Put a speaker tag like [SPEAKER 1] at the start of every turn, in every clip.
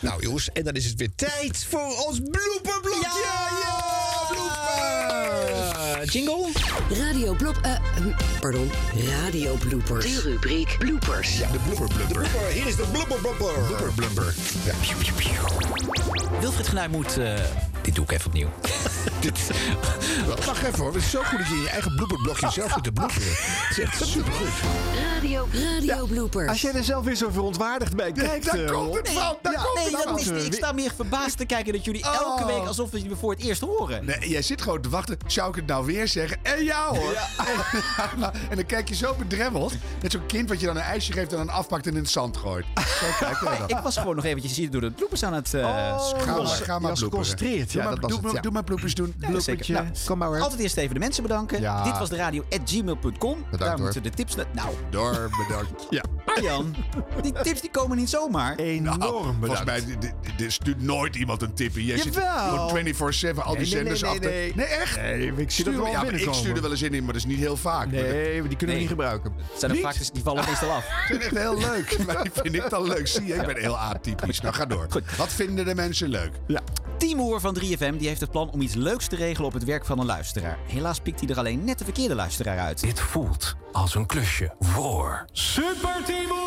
[SPEAKER 1] Nou jongens, en dan is het weer tijd voor ons blooperblokje. Ja, ja, bloopers. Jingle.
[SPEAKER 2] Radio blop... eh, hm, pardon, radio bloopers. De rubriek bloopers.
[SPEAKER 1] Ja, de blooper blubber. Hier is de blooper blubber. Blooper blubber. Ja.
[SPEAKER 3] Wilfried Genuij moet... eh, dit doe ik even opnieuw. Dit-
[SPEAKER 4] Wacht even hoor, het is zo goed dat je in je eigen blooperblokje zelf moet bloeperen. Het is echt supergoed.
[SPEAKER 2] Radio, radio bloopers.
[SPEAKER 5] Als jij er zelf weer zo verontwaardigd bij kijkt.
[SPEAKER 4] daar
[SPEAKER 5] eh,
[SPEAKER 4] komt
[SPEAKER 5] Rob.
[SPEAKER 4] het van, daar
[SPEAKER 5] Ja,
[SPEAKER 4] komt
[SPEAKER 5] nee,
[SPEAKER 4] het
[SPEAKER 5] dat
[SPEAKER 4] van.
[SPEAKER 5] is-
[SPEAKER 3] is- ik sta me hier verbaasd te kijken dat jullie elke week alsof jullie me voor het eerst horen.
[SPEAKER 4] Nee, jij zit gewoon te wachten. Zou ik het nou weer zeggen? En ja hoor. En, dan kijk je zo bedremmeld. Net zo'n kind wat je dan een ijsje geeft en dan afpakt en in het zand gooit. Zo kijk jij dat.
[SPEAKER 3] Ik was gewoon nog eventjes hier door de bloepers aan het eh, scrollen.
[SPEAKER 4] Ga maar, ga maar
[SPEAKER 5] Oh, was
[SPEAKER 4] bloeperen.
[SPEAKER 5] geconcentreerd, ja,
[SPEAKER 4] doe maar,
[SPEAKER 5] dat was
[SPEAKER 4] doe,
[SPEAKER 5] het,
[SPEAKER 4] maar-
[SPEAKER 5] ja.
[SPEAKER 4] doe maar bloepers doen.
[SPEAKER 3] Ja, zeker.
[SPEAKER 5] Bloopertje. Kom maar, hoor.
[SPEAKER 3] Altijd eerst even de mensen bedanken.
[SPEAKER 5] Ja.
[SPEAKER 3] Dit was de radio at gmail.com. Daar
[SPEAKER 4] hoor.
[SPEAKER 3] moeten de tips... na- Nou,
[SPEAKER 4] Door, bedankt. Ja.
[SPEAKER 3] Arjan, die tips die komen niet zomaar.
[SPEAKER 5] Enorm
[SPEAKER 4] Nou, Volgens
[SPEAKER 5] bedankt.
[SPEAKER 4] mij d- d- d- stuurt nooit iemand een tip in. Jij zit
[SPEAKER 5] Jawel.
[SPEAKER 4] gewoon 24-7 al die
[SPEAKER 5] Nee, nee,
[SPEAKER 4] zenders
[SPEAKER 5] nee,
[SPEAKER 4] af te-
[SPEAKER 5] nee.
[SPEAKER 4] Nee, echt?
[SPEAKER 5] Nee, ik zie dat
[SPEAKER 4] Stuur-
[SPEAKER 5] wel
[SPEAKER 4] ja, maar ik
[SPEAKER 5] binnenkomen.
[SPEAKER 4] stuur er wel eens in, maar dat is niet heel vaak. Maar dat-
[SPEAKER 5] Nee, maar die kunnen we
[SPEAKER 3] Nee.
[SPEAKER 5] niet gebruiken.
[SPEAKER 3] Het zijn er vaak, dus die vallen meestal af.
[SPEAKER 4] vind echt heel leuk. Maar die vind ik dan leuk. Zie je, ik ben heel atypisch. Nou, ga door. Wat vinden de mensen leuk?
[SPEAKER 3] Team Hoer van 3FM die heeft het plan om iets leuks te regelen op het werk van een luisteraar. Helaas pikt hij er alleen net de verkeerde luisteraar uit.
[SPEAKER 6] Dit voelt als een klusje voor.
[SPEAKER 7] Super Timo!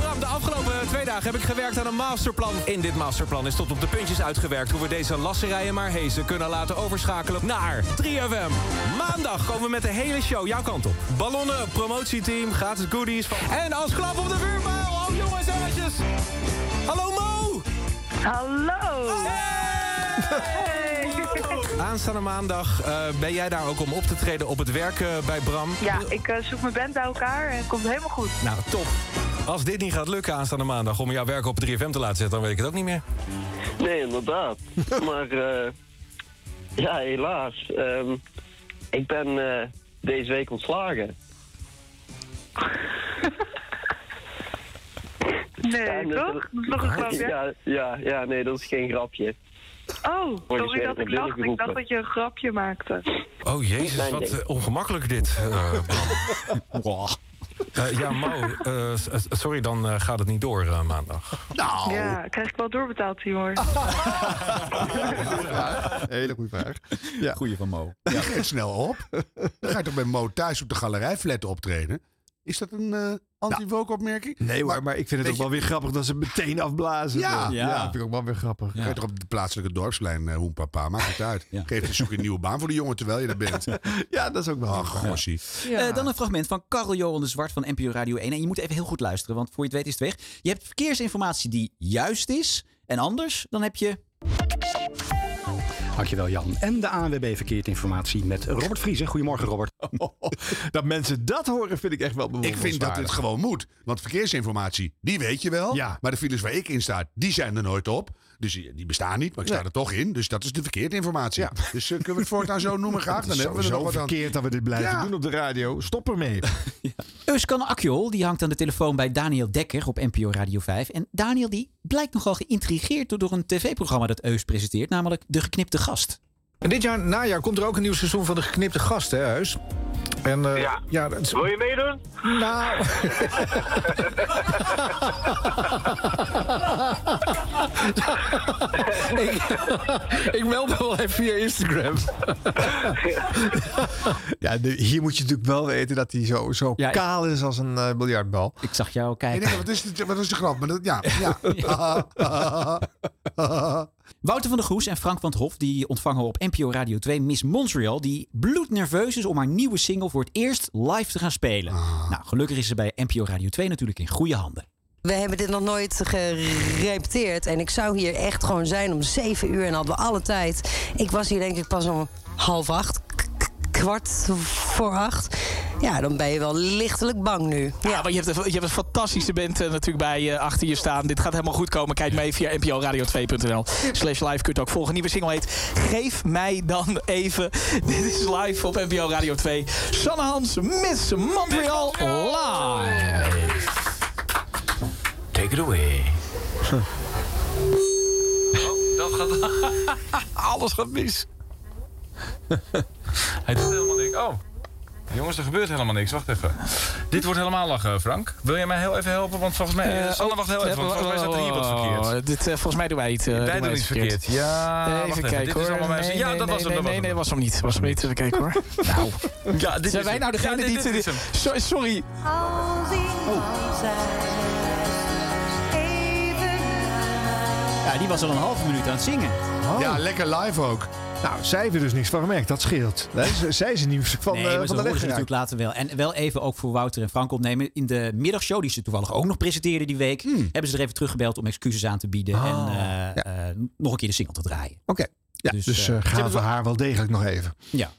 [SPEAKER 7] Bram, De afgelopen eh, twee dagen heb ik gewerkt aan een masterplan. In dit masterplan is tot op de puntjes uitgewerkt hoe we deze lasserijen maar hezen kunnen laten overschakelen naar 3FM. Maandag komen we met de hele show jouw kant op. Ballonnen, promotieteam, gratis goodies. Van... En als klap op de vuurpijl, oh jongens en meisjes. Hallo Mo!
[SPEAKER 8] Hallo!
[SPEAKER 7] Aanstaande maandag eh, ben jij daar ook om op te treden op het werk eh, bij Bram.
[SPEAKER 8] Ja, ik eh, zoek mijn band bij elkaar en het komt helemaal goed.
[SPEAKER 7] Nou, top. Als dit niet gaat lukken aanstaande maandag om jouw werk op 3FM te laten zetten, dan weet ik het ook niet meer.
[SPEAKER 9] Nee, inderdaad. maar eh, ja, helaas. Ehm, ik ben eh, deze week ontslagen.
[SPEAKER 8] Nee,
[SPEAKER 9] Ja, dat-
[SPEAKER 8] toch? Dat is nog een grapje.
[SPEAKER 9] Ja, ja, ja, nee, dat is geen grapje.
[SPEAKER 8] Oh,
[SPEAKER 9] Word je
[SPEAKER 8] sorry
[SPEAKER 9] weer
[SPEAKER 8] dat
[SPEAKER 9] naar
[SPEAKER 8] ik dacht.
[SPEAKER 9] binnen
[SPEAKER 8] Ik dacht
[SPEAKER 9] geroepen.
[SPEAKER 8] dat je een grapje maakte.
[SPEAKER 7] Oh jezus,
[SPEAKER 9] Mijn
[SPEAKER 7] wat
[SPEAKER 9] ding.
[SPEAKER 7] eh, ongemakkelijk dit. eh, Bram. Eh, ja, Mo, eh, s- eh, sorry, dan eh, gaat het niet door eh, maandag.
[SPEAKER 4] Nou,
[SPEAKER 8] Ja, krijg ik wel doorbetaald, Timor.
[SPEAKER 5] Hele goede vraag. Ja.
[SPEAKER 3] Goeie van Mo.
[SPEAKER 4] die geeft snel op. Dan ga je toch bij Mo thuis op de galerijflat optreden? Is dat een eh anti-woke opmerking?
[SPEAKER 5] Nee hoor, maar, ik vind het
[SPEAKER 4] weet
[SPEAKER 5] ook wel weer grappig dat ze het meteen afblazen.
[SPEAKER 4] Ja.
[SPEAKER 5] ja.
[SPEAKER 3] Ja.
[SPEAKER 5] dat vind ik ook wel weer grappig.
[SPEAKER 4] Ga je toch op de plaatselijke dorpslijn, eh hoenpapa? Maakt het uit.
[SPEAKER 3] Ja.
[SPEAKER 4] Geef je zoek een nieuwe baan voor de jongen terwijl je er bent.
[SPEAKER 5] Ja, dat is ook wel
[SPEAKER 4] Ach, gossie.
[SPEAKER 3] Eh, dan een fragment van Karel Johan de Zwart van NPO Radio 1. En je moet even heel goed luisteren, want voor je het weet is het weg. Je hebt verkeersinformatie die juist is. En anders, dan heb je...
[SPEAKER 10] Dankjewel Jan. En de ANWB Verkeersinformatie met Robert Vriezen. Goedemorgen Robert.
[SPEAKER 5] Dat mensen dat horen vind ik echt wel
[SPEAKER 4] Ik vind dat het gewoon moet. Want verkeersinformatie, die weet je wel.
[SPEAKER 5] Ja.
[SPEAKER 4] Maar de files waar ik in sta, die zijn er nooit op. Dus die die bestaan niet, maar ik sta er toch in. Dus dat is de verkeerde informatie. Dus eh, kunnen we het voortaan zo noemen graag? Dan hebben we er nog
[SPEAKER 5] zo
[SPEAKER 4] wat aan.
[SPEAKER 5] verkeerd dat we dit blijven
[SPEAKER 4] Ja.
[SPEAKER 5] doen op de radio. Stop ermee.
[SPEAKER 3] Euskan Akjol, die hangt aan de telefoon bij Daniel Dekker op NPO Radio 5. En Daniel die blijkt nogal geïntrigeerd door- door een tv-programma dat Eus presenteert, namelijk De Geknipte Gast.
[SPEAKER 11] En dit jaar najaar komt er ook een nieuw seizoen van de geknipte gast, hè, Huis? En, eh,
[SPEAKER 9] Ja.
[SPEAKER 11] ja, dat is-
[SPEAKER 9] Wil je meedoen?
[SPEAKER 11] nou, ik, ik meld me wel even via Instagram.
[SPEAKER 5] Ja, de- hier moet je natuurlijk wel weten dat hij zo, zo
[SPEAKER 3] Ja, ik-
[SPEAKER 5] kaal is als een eh, biljartbal.
[SPEAKER 3] Ik zag jou
[SPEAKER 4] Ik
[SPEAKER 3] kijken.
[SPEAKER 4] denk, wat, is de, wat is de grap? Maar dat, ja, ja.
[SPEAKER 3] Wouter van der Goes en Frank van het Hof die ontvangen we op NPO Radio 2 Miss Montreal. Die bloednerveus is om haar nieuwe single voor het eerst live te gaan spelen.
[SPEAKER 11] Ah.
[SPEAKER 3] Nou, gelukkig is ze bij NPO Radio 2 natuurlijk in goede handen.
[SPEAKER 2] We hebben dit nog nooit gerepeteerd. En ik zou hier echt gewoon zijn om zeven uur en hadden we alle tijd. Ik was hier denk ik pas om half acht, k- k- kwart voor acht. Ja, dan ben je wel lichtelijk bang nu.
[SPEAKER 12] Ja, maar je hebt, een- je hebt een fantastische band eh, natuurlijk bij je achter je staan. Dit gaat helemaal goed komen. Kijk mee via nporadio2.nl. Slash live kunt ook volgen. Nieuwe single heet Geef mij dan even. Dit is live op NPO Radio 2. Sanne Hans, Miss Montreal live.
[SPEAKER 6] Take it away.
[SPEAKER 11] Oh,
[SPEAKER 7] Dat gaat... Alles gaat mis. Hij doet helemaal niks. Oh. Jongens, er gebeurt helemaal niks. Wacht even.
[SPEAKER 13] Dit wordt helemaal lachen, Frank. Wil jij mij heel even helpen? Want volgens mij...
[SPEAKER 12] Eh,
[SPEAKER 13] Eh, Sanne, wacht heel
[SPEAKER 12] oh,
[SPEAKER 13] even. Want volgens mij staat er hier wat
[SPEAKER 12] oh,
[SPEAKER 13] verkeerd.
[SPEAKER 12] dit, eh, volgens mij doen wij het. eh,
[SPEAKER 13] Wij doen
[SPEAKER 12] het Eh,
[SPEAKER 13] iets verkeerd. Ja, wacht
[SPEAKER 12] even
[SPEAKER 13] even,
[SPEAKER 12] kijken
[SPEAKER 13] dit
[SPEAKER 12] hoor.
[SPEAKER 13] is allemaal mijn-
[SPEAKER 12] nee,
[SPEAKER 13] Ja,
[SPEAKER 12] nee,
[SPEAKER 13] dat was
[SPEAKER 12] nee,
[SPEAKER 13] hem, dat was
[SPEAKER 12] Nee,
[SPEAKER 13] hem.
[SPEAKER 12] nee, was hem niet. Was hem niet. Even kijken hoor.
[SPEAKER 13] Ja, dit
[SPEAKER 12] Zijn
[SPEAKER 13] is
[SPEAKER 12] wij
[SPEAKER 13] hem.
[SPEAKER 12] nou degene
[SPEAKER 13] Ja, dit-
[SPEAKER 12] die...
[SPEAKER 13] dit is hem.
[SPEAKER 12] So- sorry.
[SPEAKER 3] Ja, die was al een halve minuut aan het zingen.
[SPEAKER 5] Ja,
[SPEAKER 4] lekker live ook.
[SPEAKER 5] Nou, zij heeft er dus niks van gemerkt. Dat scheelt. Hè, z- zij is er niet van,
[SPEAKER 3] nee,
[SPEAKER 5] eh,
[SPEAKER 3] maar ze
[SPEAKER 5] van de
[SPEAKER 3] horen
[SPEAKER 5] weg
[SPEAKER 3] ze
[SPEAKER 5] geraakt.
[SPEAKER 3] natuurlijk later wel. En wel even ook voor Wouter en Frank opnemen. In de middagshow, die ze toevallig ook nog presenteerden die week...
[SPEAKER 5] Hmm.
[SPEAKER 3] hebben ze er even teruggebeld om excuses aan te bieden.
[SPEAKER 5] Ah,
[SPEAKER 3] En eh, eh, nog een keer de single te draaien.
[SPEAKER 5] Oké. Ja, dus
[SPEAKER 3] eh,
[SPEAKER 5] dus eh,
[SPEAKER 3] ze hebben
[SPEAKER 5] gaan
[SPEAKER 3] het
[SPEAKER 5] we
[SPEAKER 3] wel-
[SPEAKER 5] haar wel degelijk nog even.
[SPEAKER 3] Ja.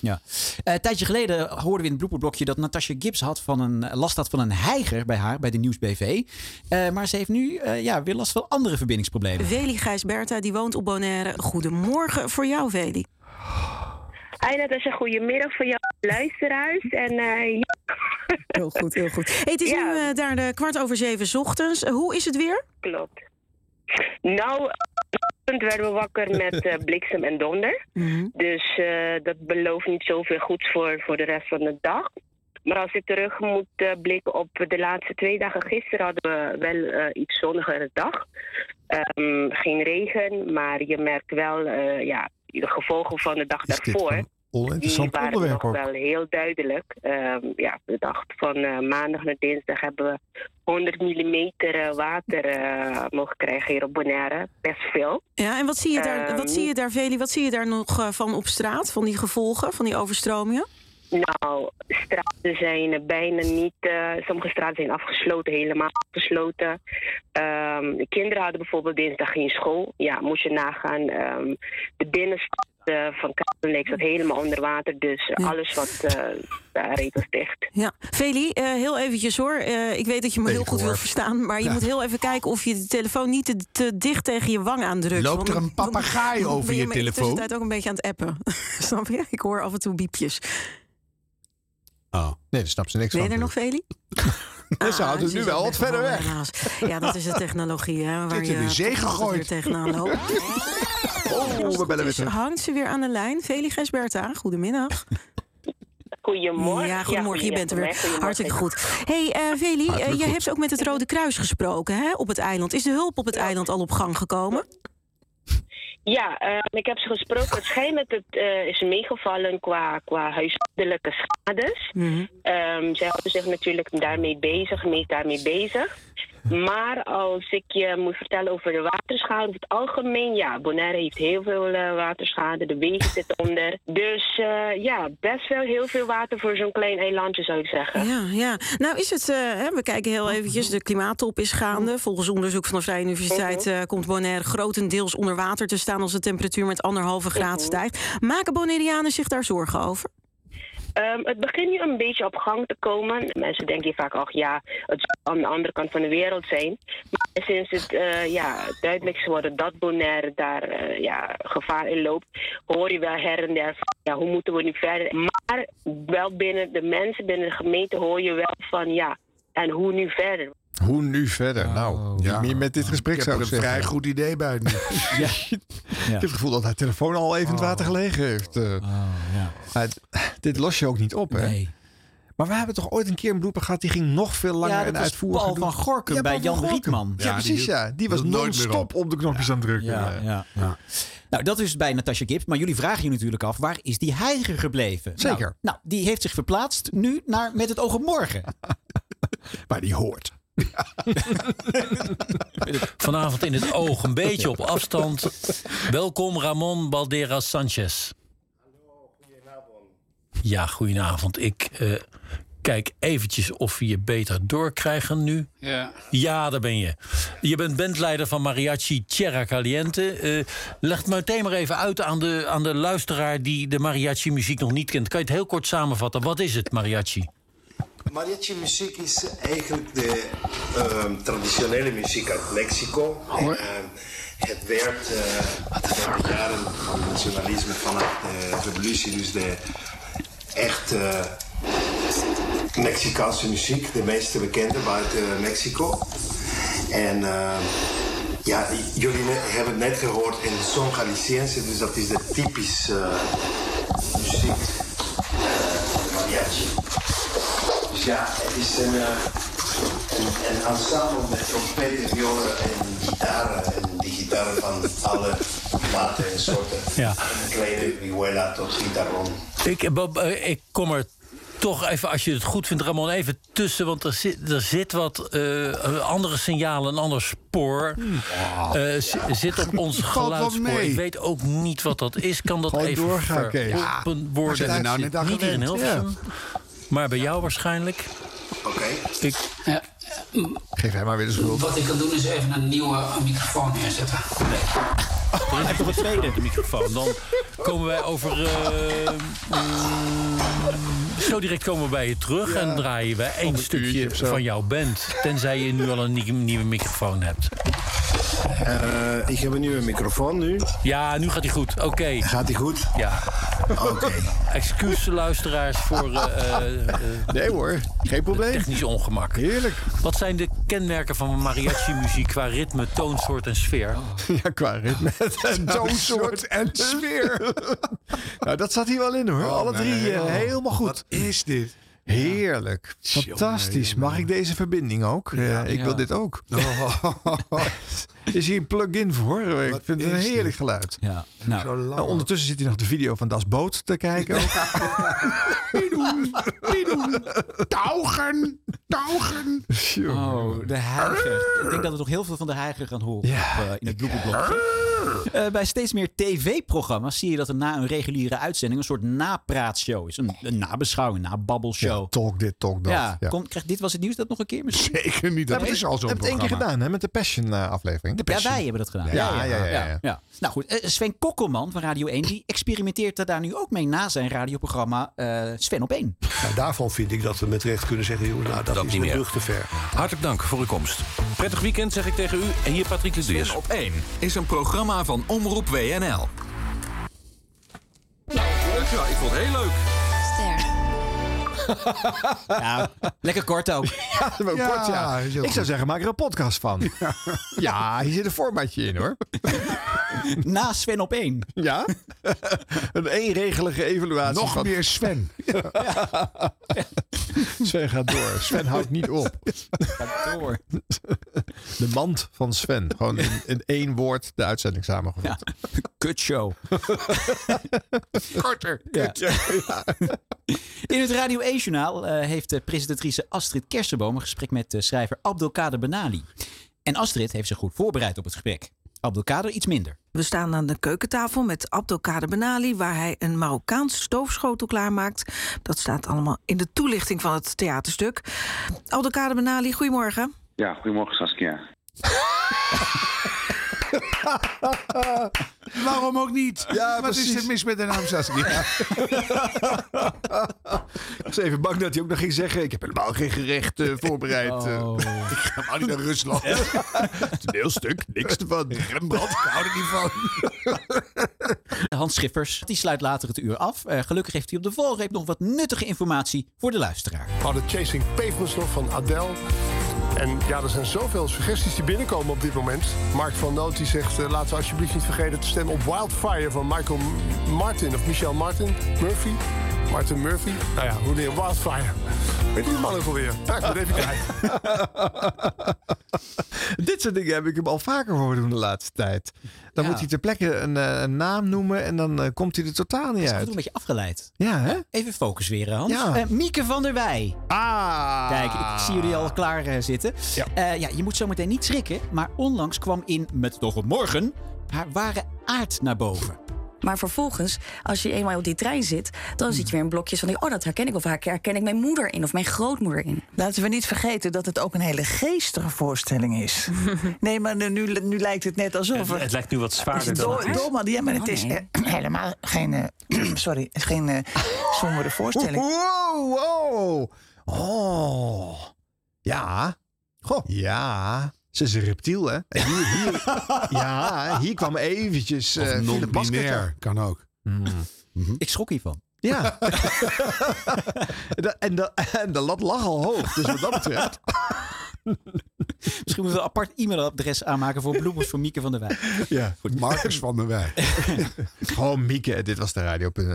[SPEAKER 3] ja. Eh, een tijdje geleden hoorden we in het blooperblokje dat Natasha Gibbs had van een, last had van een heiger bij haar, bij de Nieuwsbv. Eh, maar ze heeft nu eh, ja, weer last van andere verbindingsproblemen.
[SPEAKER 14] Veli Gijsberta, die woont op Bonaire. Goedemorgen voor jou, Veli.
[SPEAKER 15] Hey, dat is een goedemiddag voor jouw luisteraars. En eh, ja,
[SPEAKER 14] Heel goed, heel goed. Hey, het is nu eh, daar de kwart over zeven 's ochtends. Eh, hoe is het weer?
[SPEAKER 15] klopt. Nou, vanochtend werden we wakker met eh, bliksem en donder. Dus eh, dat belooft niet zoveel goeds voor, voor de rest van de dag. Maar als ik terug moet eh, blikken op de laatste twee dagen, gisteren hadden we wel eh, iets zonnigere dag. Ehm, geen regen, maar je merkt wel eh, ja, de gevolgen van de dag daarvoor. Die
[SPEAKER 5] Oninteressant
[SPEAKER 15] waren
[SPEAKER 5] onderwerp
[SPEAKER 15] nog
[SPEAKER 5] ook.
[SPEAKER 15] wel heel duidelijk. Ehm, ja, de dag van eh, maandag naar dinsdag hebben we 100 mm water eh, mogen krijgen hier op Bonaire. Best veel.
[SPEAKER 14] Ja, en wat zie je daar,
[SPEAKER 15] Ehm,
[SPEAKER 14] wat zie je daar Veli, wat zie je daar nog eh, van op straat? Van die gevolgen, van die overstromingen?
[SPEAKER 15] Nou, straten zijn eh, bijna niet. eh, sommige straten zijn afgesloten, helemaal afgesloten. Ehm, de kinderen hadden bijvoorbeeld dinsdag geen school. Ja, moest je nagaan. ehm, de binnenstad eh, van Kamerleek zat helemaal onder water. Dus eh, alles wat eh daar reed was dicht.
[SPEAKER 14] Ja, Veli, eh, heel eventjes hoor. Eh, ik weet dat je me heel goed
[SPEAKER 15] hoor.
[SPEAKER 14] wil verstaan, maar je
[SPEAKER 15] Ja.
[SPEAKER 14] moet heel even kijken of je de telefoon niet te, te dicht tegen je wang aandrukt.
[SPEAKER 4] Loopt
[SPEAKER 14] want
[SPEAKER 4] er
[SPEAKER 14] dan-
[SPEAKER 4] een
[SPEAKER 14] dan-
[SPEAKER 4] papegaai
[SPEAKER 14] dan
[SPEAKER 4] over
[SPEAKER 14] ben
[SPEAKER 4] je
[SPEAKER 14] me
[SPEAKER 4] telefoon?
[SPEAKER 14] Ik ben tijd ook een beetje aan het appen. Snap je? Ik hoor af en toe biepjes.
[SPEAKER 5] Oh, nee, daar snapt ze niks
[SPEAKER 14] Ben je
[SPEAKER 5] van.
[SPEAKER 14] er nog, Veli?
[SPEAKER 5] Dus
[SPEAKER 3] Ah,
[SPEAKER 5] ze houdt het nu wel wat verder weg.
[SPEAKER 14] Helaas. Ja, dat is de technologie, hè? Waar
[SPEAKER 5] Zit
[SPEAKER 14] je
[SPEAKER 5] in de zee
[SPEAKER 14] toch altijd
[SPEAKER 5] gegooid.
[SPEAKER 14] weer tegenaan loopt.
[SPEAKER 5] Oh, we bellen weer terug.
[SPEAKER 14] Hangt ze weer aan de lijn? Veli Gesberta, goedemiddag.
[SPEAKER 15] Goedemorgen.
[SPEAKER 14] Ja, goedemorgen. Je bent er
[SPEAKER 15] goedemorgen,
[SPEAKER 14] weer.
[SPEAKER 15] goedemorgen.
[SPEAKER 14] Hartelijk goed. hey, eh, Veli, eh,
[SPEAKER 15] Hartelijk
[SPEAKER 14] jij
[SPEAKER 15] goed.
[SPEAKER 14] hebt ook met het Rode Kruis gesproken hè, op het eiland. Is de hulp op het eiland al op gang gekomen?
[SPEAKER 15] Ja, ehm, ik heb ze gesproken. Het schijnt dat het eh, is meegevallen qua, qua huishoudelijke schades.
[SPEAKER 8] Mhm.
[SPEAKER 15] Ehm, zij houden zich natuurlijk daarmee bezig, mee daarmee bezig. Maar als ik je moet vertellen over de waterschade, over het algemeen, ja, Bonaire heeft heel veel eh, waterschade, de wegen zitten onder. Dus eh, ja, best wel heel veel water voor zo'n klein eilandje zou ik zeggen.
[SPEAKER 14] Ja, ja. Nou is het, eh, hè, we kijken heel eventjes, de klimaattop is gaande. Volgens onderzoek van de Vrije Universiteit
[SPEAKER 15] Mhm.
[SPEAKER 14] eh, komt Bonaire grotendeels onder water te staan als de temperatuur met anderhalve
[SPEAKER 15] Mhm.
[SPEAKER 14] graad stijgt. Maken Bonaireanen zich daar zorgen over?
[SPEAKER 15] Ehm, het begint nu een beetje op gang te komen. Mensen denken hier vaak, ach ja, het zal aan de andere kant van de wereld zijn. Maar sinds het eh, ja, duidelijk is geworden dat Bonaire daar eh, ja, gevaar in loopt, hoor je wel her en der van, ja, hoe moeten we nu verder? Maar wel binnen de mensen, binnen de gemeente hoor je wel van, ja, en hoe nu verder?
[SPEAKER 5] Hoe nu verder? nou, ja. meer met dit gesprek
[SPEAKER 4] Oh. Ik heb
[SPEAKER 5] zou
[SPEAKER 4] er
[SPEAKER 5] ik
[SPEAKER 4] een
[SPEAKER 5] zeggen.
[SPEAKER 4] vrij goed idee bij nu. Oh.
[SPEAKER 5] Ik heb het gevoel dat haar telefoon al even in het water gelegen heeft. eh. Maar d- dit los je ook niet op, hè? Maar we hebben toch ooit een keer een blooper gehad... die ging nog veel langer
[SPEAKER 3] Ja, dat
[SPEAKER 5] en
[SPEAKER 3] was
[SPEAKER 5] uitvoerig.
[SPEAKER 3] Paul
[SPEAKER 5] en doet-
[SPEAKER 3] van Gorkum bij
[SPEAKER 5] Paul
[SPEAKER 3] Jan
[SPEAKER 5] van Gorkum.
[SPEAKER 3] Rietman.
[SPEAKER 5] Ja,
[SPEAKER 3] Ja, die
[SPEAKER 5] precies,
[SPEAKER 3] hield-
[SPEAKER 5] ja. Die was
[SPEAKER 3] hield nooit meer
[SPEAKER 5] non-stop op de knopjes aan het drukken.
[SPEAKER 3] Ja,
[SPEAKER 5] Ja.
[SPEAKER 3] ja, ja. Nou, dat is bij Natasha Gibbs. Maar jullie vragen je natuurlijk af, waar is die heiger gebleven?
[SPEAKER 5] Zeker.
[SPEAKER 3] Nou, nou, die heeft zich verplaatst nu naar Met het oog op morgen.
[SPEAKER 5] Maar die hoort.
[SPEAKER 16] Vanavond in het oog, een beetje op afstand. Welkom Ramon Balderas Sanchez. Ja, goedenavond. Ik eh, kijk eventjes of we je beter doorkrijgen nu.
[SPEAKER 8] Ja.
[SPEAKER 16] Ja, daar ben je. Je bent bandleider van Mariachi Tierra Caliente. Eh leg het meteen maar even uit aan de, aan de luisteraar die de mariachi-muziek nog niet kent. Kan je het heel kort samenvatten? Wat is het, mariachi?
[SPEAKER 17] Mariachi muziek is eigenlijk de ehm, traditionele muziek uit Mexico. En, het werd eh in de jaren van nationalisme vanaf de revolutie, dus de echt eh, Mexicaanse muziek, de meeste bekende buiten Mexico. En eh, ja, j- jullie ne- hebben het net gehoord in Son Galiciense, dus dat is de typisch eh, muziek, eh, mariachi. Dus ja, het is een, eh, een, een ensemble met trompeten, violen en gitaren. En die gitaren van alle maten en soorten.
[SPEAKER 16] Ja.
[SPEAKER 17] Een kleine vihuela tot gitaron.
[SPEAKER 16] Ik, Bob, eh, ik kom er toch even, als je het goed vindt, Ramon, even tussen. Want er zit, er zit wat eh, andere signalen, een ander spoor. eh, zi- zit op ons
[SPEAKER 4] Valt wel
[SPEAKER 16] geluidsspoor.
[SPEAKER 4] mee.
[SPEAKER 16] Ik weet ook niet wat dat is. Kan dat
[SPEAKER 4] Gewoon
[SPEAKER 16] even
[SPEAKER 4] doorgaan, Kees. Ja,
[SPEAKER 16] open
[SPEAKER 4] waar
[SPEAKER 16] worden?
[SPEAKER 4] zijn we nou
[SPEAKER 16] Het zit
[SPEAKER 4] net aan
[SPEAKER 16] niet hier in
[SPEAKER 4] gewend?
[SPEAKER 16] Hilversum, maar bij jou waarschijnlijk.
[SPEAKER 17] Oké.
[SPEAKER 16] Ik...
[SPEAKER 5] Geef hem maar weer de schuld.
[SPEAKER 13] Wat ik kan doen is even een nieuwe microfoon neerzetten.
[SPEAKER 16] Er is nog een tweede microfoon. Dan komen wij over. eh, mm, zo direct komen we bij je terug en draaien we één stukje van jouw band. Tenzij je nu al een nie- nieuwe microfoon hebt.
[SPEAKER 17] Eh, ik heb een nieuwe microfoon nu.
[SPEAKER 16] Ja, nu gaat hij goed. Oké.
[SPEAKER 17] Gaat hij goed?
[SPEAKER 16] Ja.
[SPEAKER 17] Oké.
[SPEAKER 16] Excuus luisteraars voor. eh, nee hoor, geen probleem. Technisch ongemak. Heerlijk. Wat zijn de kenmerken van mariachi-muziek qua ritme, toonsoort en sfeer?
[SPEAKER 5] Ja, qua ritme.
[SPEAKER 4] Toonsoort en sfeer.
[SPEAKER 5] nou, dat zat hier wel in hoor. Alle
[SPEAKER 4] nee.
[SPEAKER 5] drie eh,
[SPEAKER 4] Oh,
[SPEAKER 5] helemaal goed. Wat
[SPEAKER 4] is dit?
[SPEAKER 5] Heerlijk. Fantastisch. Mag ik deze verbinding ook? Eh, ik
[SPEAKER 4] Ja. Oh.
[SPEAKER 5] wil dit ook. is hier een plug-in voor? Ik vind het een
[SPEAKER 4] is
[SPEAKER 5] heerlijk
[SPEAKER 4] dit?
[SPEAKER 5] geluid.
[SPEAKER 3] Ja.
[SPEAKER 4] Nou. Zo lang.
[SPEAKER 5] Nou, ondertussen zit hij nog de video van Das Boot te kijken. ook.
[SPEAKER 4] Pidoen, pidoen. Taugen, taugen.
[SPEAKER 3] Oh, de heiger. Ik denk dat we nog heel veel van de heiger gaan horen op, eh, in het bloepenblok. Eh, bij steeds meer tv-programma's zie je dat er na een reguliere uitzending een soort napraatshow is. Een, een nabeschouwing, een nababbelshow.
[SPEAKER 5] talk dit, talk dat.
[SPEAKER 3] Ja,
[SPEAKER 5] Ja.
[SPEAKER 3] kom, krijg, dit was het nieuws dat nog een keer misschien.
[SPEAKER 4] Zeker niet,
[SPEAKER 5] We hebben het- we hebben het één keer gedaan hè, met de Passion eh, aflevering.
[SPEAKER 3] Ja, wij hebben dat gedaan.
[SPEAKER 5] Ja, ja, ja. ja, ja.
[SPEAKER 3] Nou goed, eh, Sven Kokkelman van Radio 1 die experimenteert er daar nu ook mee na zijn radioprogramma eh, Sven op 1.
[SPEAKER 18] Nou, daarvan vind ik dat we met recht kunnen zeggen, joh, nou, dat,
[SPEAKER 3] Dat
[SPEAKER 18] is
[SPEAKER 3] niet
[SPEAKER 18] een
[SPEAKER 3] meer.
[SPEAKER 18] brug te ver.
[SPEAKER 7] Hartelijk dank voor uw komst. Prettig weekend zeg ik tegen u en hier Patrick Lediers. op 1 is een programma van Omroep WNL.
[SPEAKER 19] Ja, ik vond het heel leuk.
[SPEAKER 3] Ja, lekker kort ook.
[SPEAKER 5] Ja, wel
[SPEAKER 4] Ja,
[SPEAKER 5] kort, ja.
[SPEAKER 4] is heel
[SPEAKER 5] Ik zou
[SPEAKER 4] goed.
[SPEAKER 5] zeggen, maak er een podcast van. Ja, hier zit een formatje in hoor.
[SPEAKER 3] Na Sven op één.
[SPEAKER 5] Ja? Een eenregelige evaluatie.
[SPEAKER 4] Nog
[SPEAKER 5] van-
[SPEAKER 4] meer Sven.
[SPEAKER 5] Sven gaat door. Sven houdt niet op.
[SPEAKER 3] Gaat door.
[SPEAKER 5] De mand van Sven. Gewoon in, in één woord de uitzending samengevat.
[SPEAKER 3] Kutshow.
[SPEAKER 4] Korter.
[SPEAKER 3] Ja. In het Radio 1-journaal heeft eh, presentatrice Astrid Kersenboom een gesprek met eh, schrijver Abdelkader Benali. En Astrid heeft zich goed voorbereid op het gesprek. Abdelkader iets minder.
[SPEAKER 8] We staan aan de keukentafel met Abdelkader Benali, waar hij een Marokkaans stoofschotel klaarmaakt. Dat staat allemaal in de toelichting van het theaterstuk. Abdelkader Benali, goedemorgen.
[SPEAKER 20] Ja, goedemorgen Saskia.
[SPEAKER 4] Waarom ook niet? Wat is er mis met de naam Saskia?
[SPEAKER 5] Ik was even bang dat hij ook nog ging zeggen: Ik heb helemaal geen gerecht eh, voorbereid. Eh, ik ga maar niet naar Rusland. Toneelstuk, niks ervan. Rembrandt, ik hou er niet van.
[SPEAKER 3] Hans Schiffers die sluit later het uur af. Eh, gelukkig heeft hij op de valreep nog wat nuttige informatie voor de luisteraar.
[SPEAKER 18] We hadden Chasing Pavements nog van Adele. En ja, er zijn zoveel suggesties die binnenkomen op dit moment. Mark van Noot die zegt, eh, laten we alsjeblieft niet vergeten te stemmen op Wildfire van Michael M- Martin. Of Michel Martin, Murphy. Martin Murphy. Nou ja, hoe neer Wildfire. Weet die man ook alweer? Ja, ik ben even kwijt.
[SPEAKER 5] Dit soort dingen heb ik hem al vaker horen doen de laatste tijd. Dan moet hij ter plekke een, eh, een naam noemen en dan eh, komt hij er totaal niet
[SPEAKER 3] Is
[SPEAKER 5] uit.
[SPEAKER 3] een beetje afgeleid.
[SPEAKER 5] Ja, hè?
[SPEAKER 3] Even focus weer, Hans.
[SPEAKER 5] Ja.
[SPEAKER 3] Eh, Mieke van der Wij.
[SPEAKER 5] Ah.
[SPEAKER 3] Kijk, ik zie jullie al klaar eh, zitten. Ja. ja, je moet zometeen niet schrikken, maar onlangs kwam in Met Nog een Morgen haar ware aard naar boven.
[SPEAKER 21] Maar vervolgens, als je eenmaal op die trein zit, dan zit je weer in blokjes van die, oh dat herken ik of haar herken ik mijn moeder in of mijn grootmoeder in.
[SPEAKER 1] Laten we niet vergeten dat het ook een hele geestige voorstelling is. nee, maar nu, nu, nu lijkt het net alsof...
[SPEAKER 16] Het- het lijkt nu wat zwaarder
[SPEAKER 1] Het is
[SPEAKER 16] dan
[SPEAKER 1] do-
[SPEAKER 16] het is.
[SPEAKER 1] Dolman, ja, maar het is
[SPEAKER 16] Oh, nee.
[SPEAKER 1] eh, helemaal geen, eh, sorry, geen eh, sombere voorstelling.
[SPEAKER 5] Wow, wow. Oh. Ja. Goh. Ja. Ze is een reptiel, hè? En Hier, hier, ja, hier kwam eventjes... eh, Philip Basker.
[SPEAKER 4] kan ook.
[SPEAKER 3] Mm. Ik schrok hiervan.
[SPEAKER 5] Mhm. Ja. en, de, en de lat lag al hoog, dus wat dat betreft.
[SPEAKER 3] Misschien moeten we een apart e-mailadres aanmaken voor bloemers voor Mieke van der Wij.
[SPEAKER 5] Ja.
[SPEAKER 4] Marcus van der Wij.
[SPEAKER 5] Gewoon Mieke, dit was de radio.com.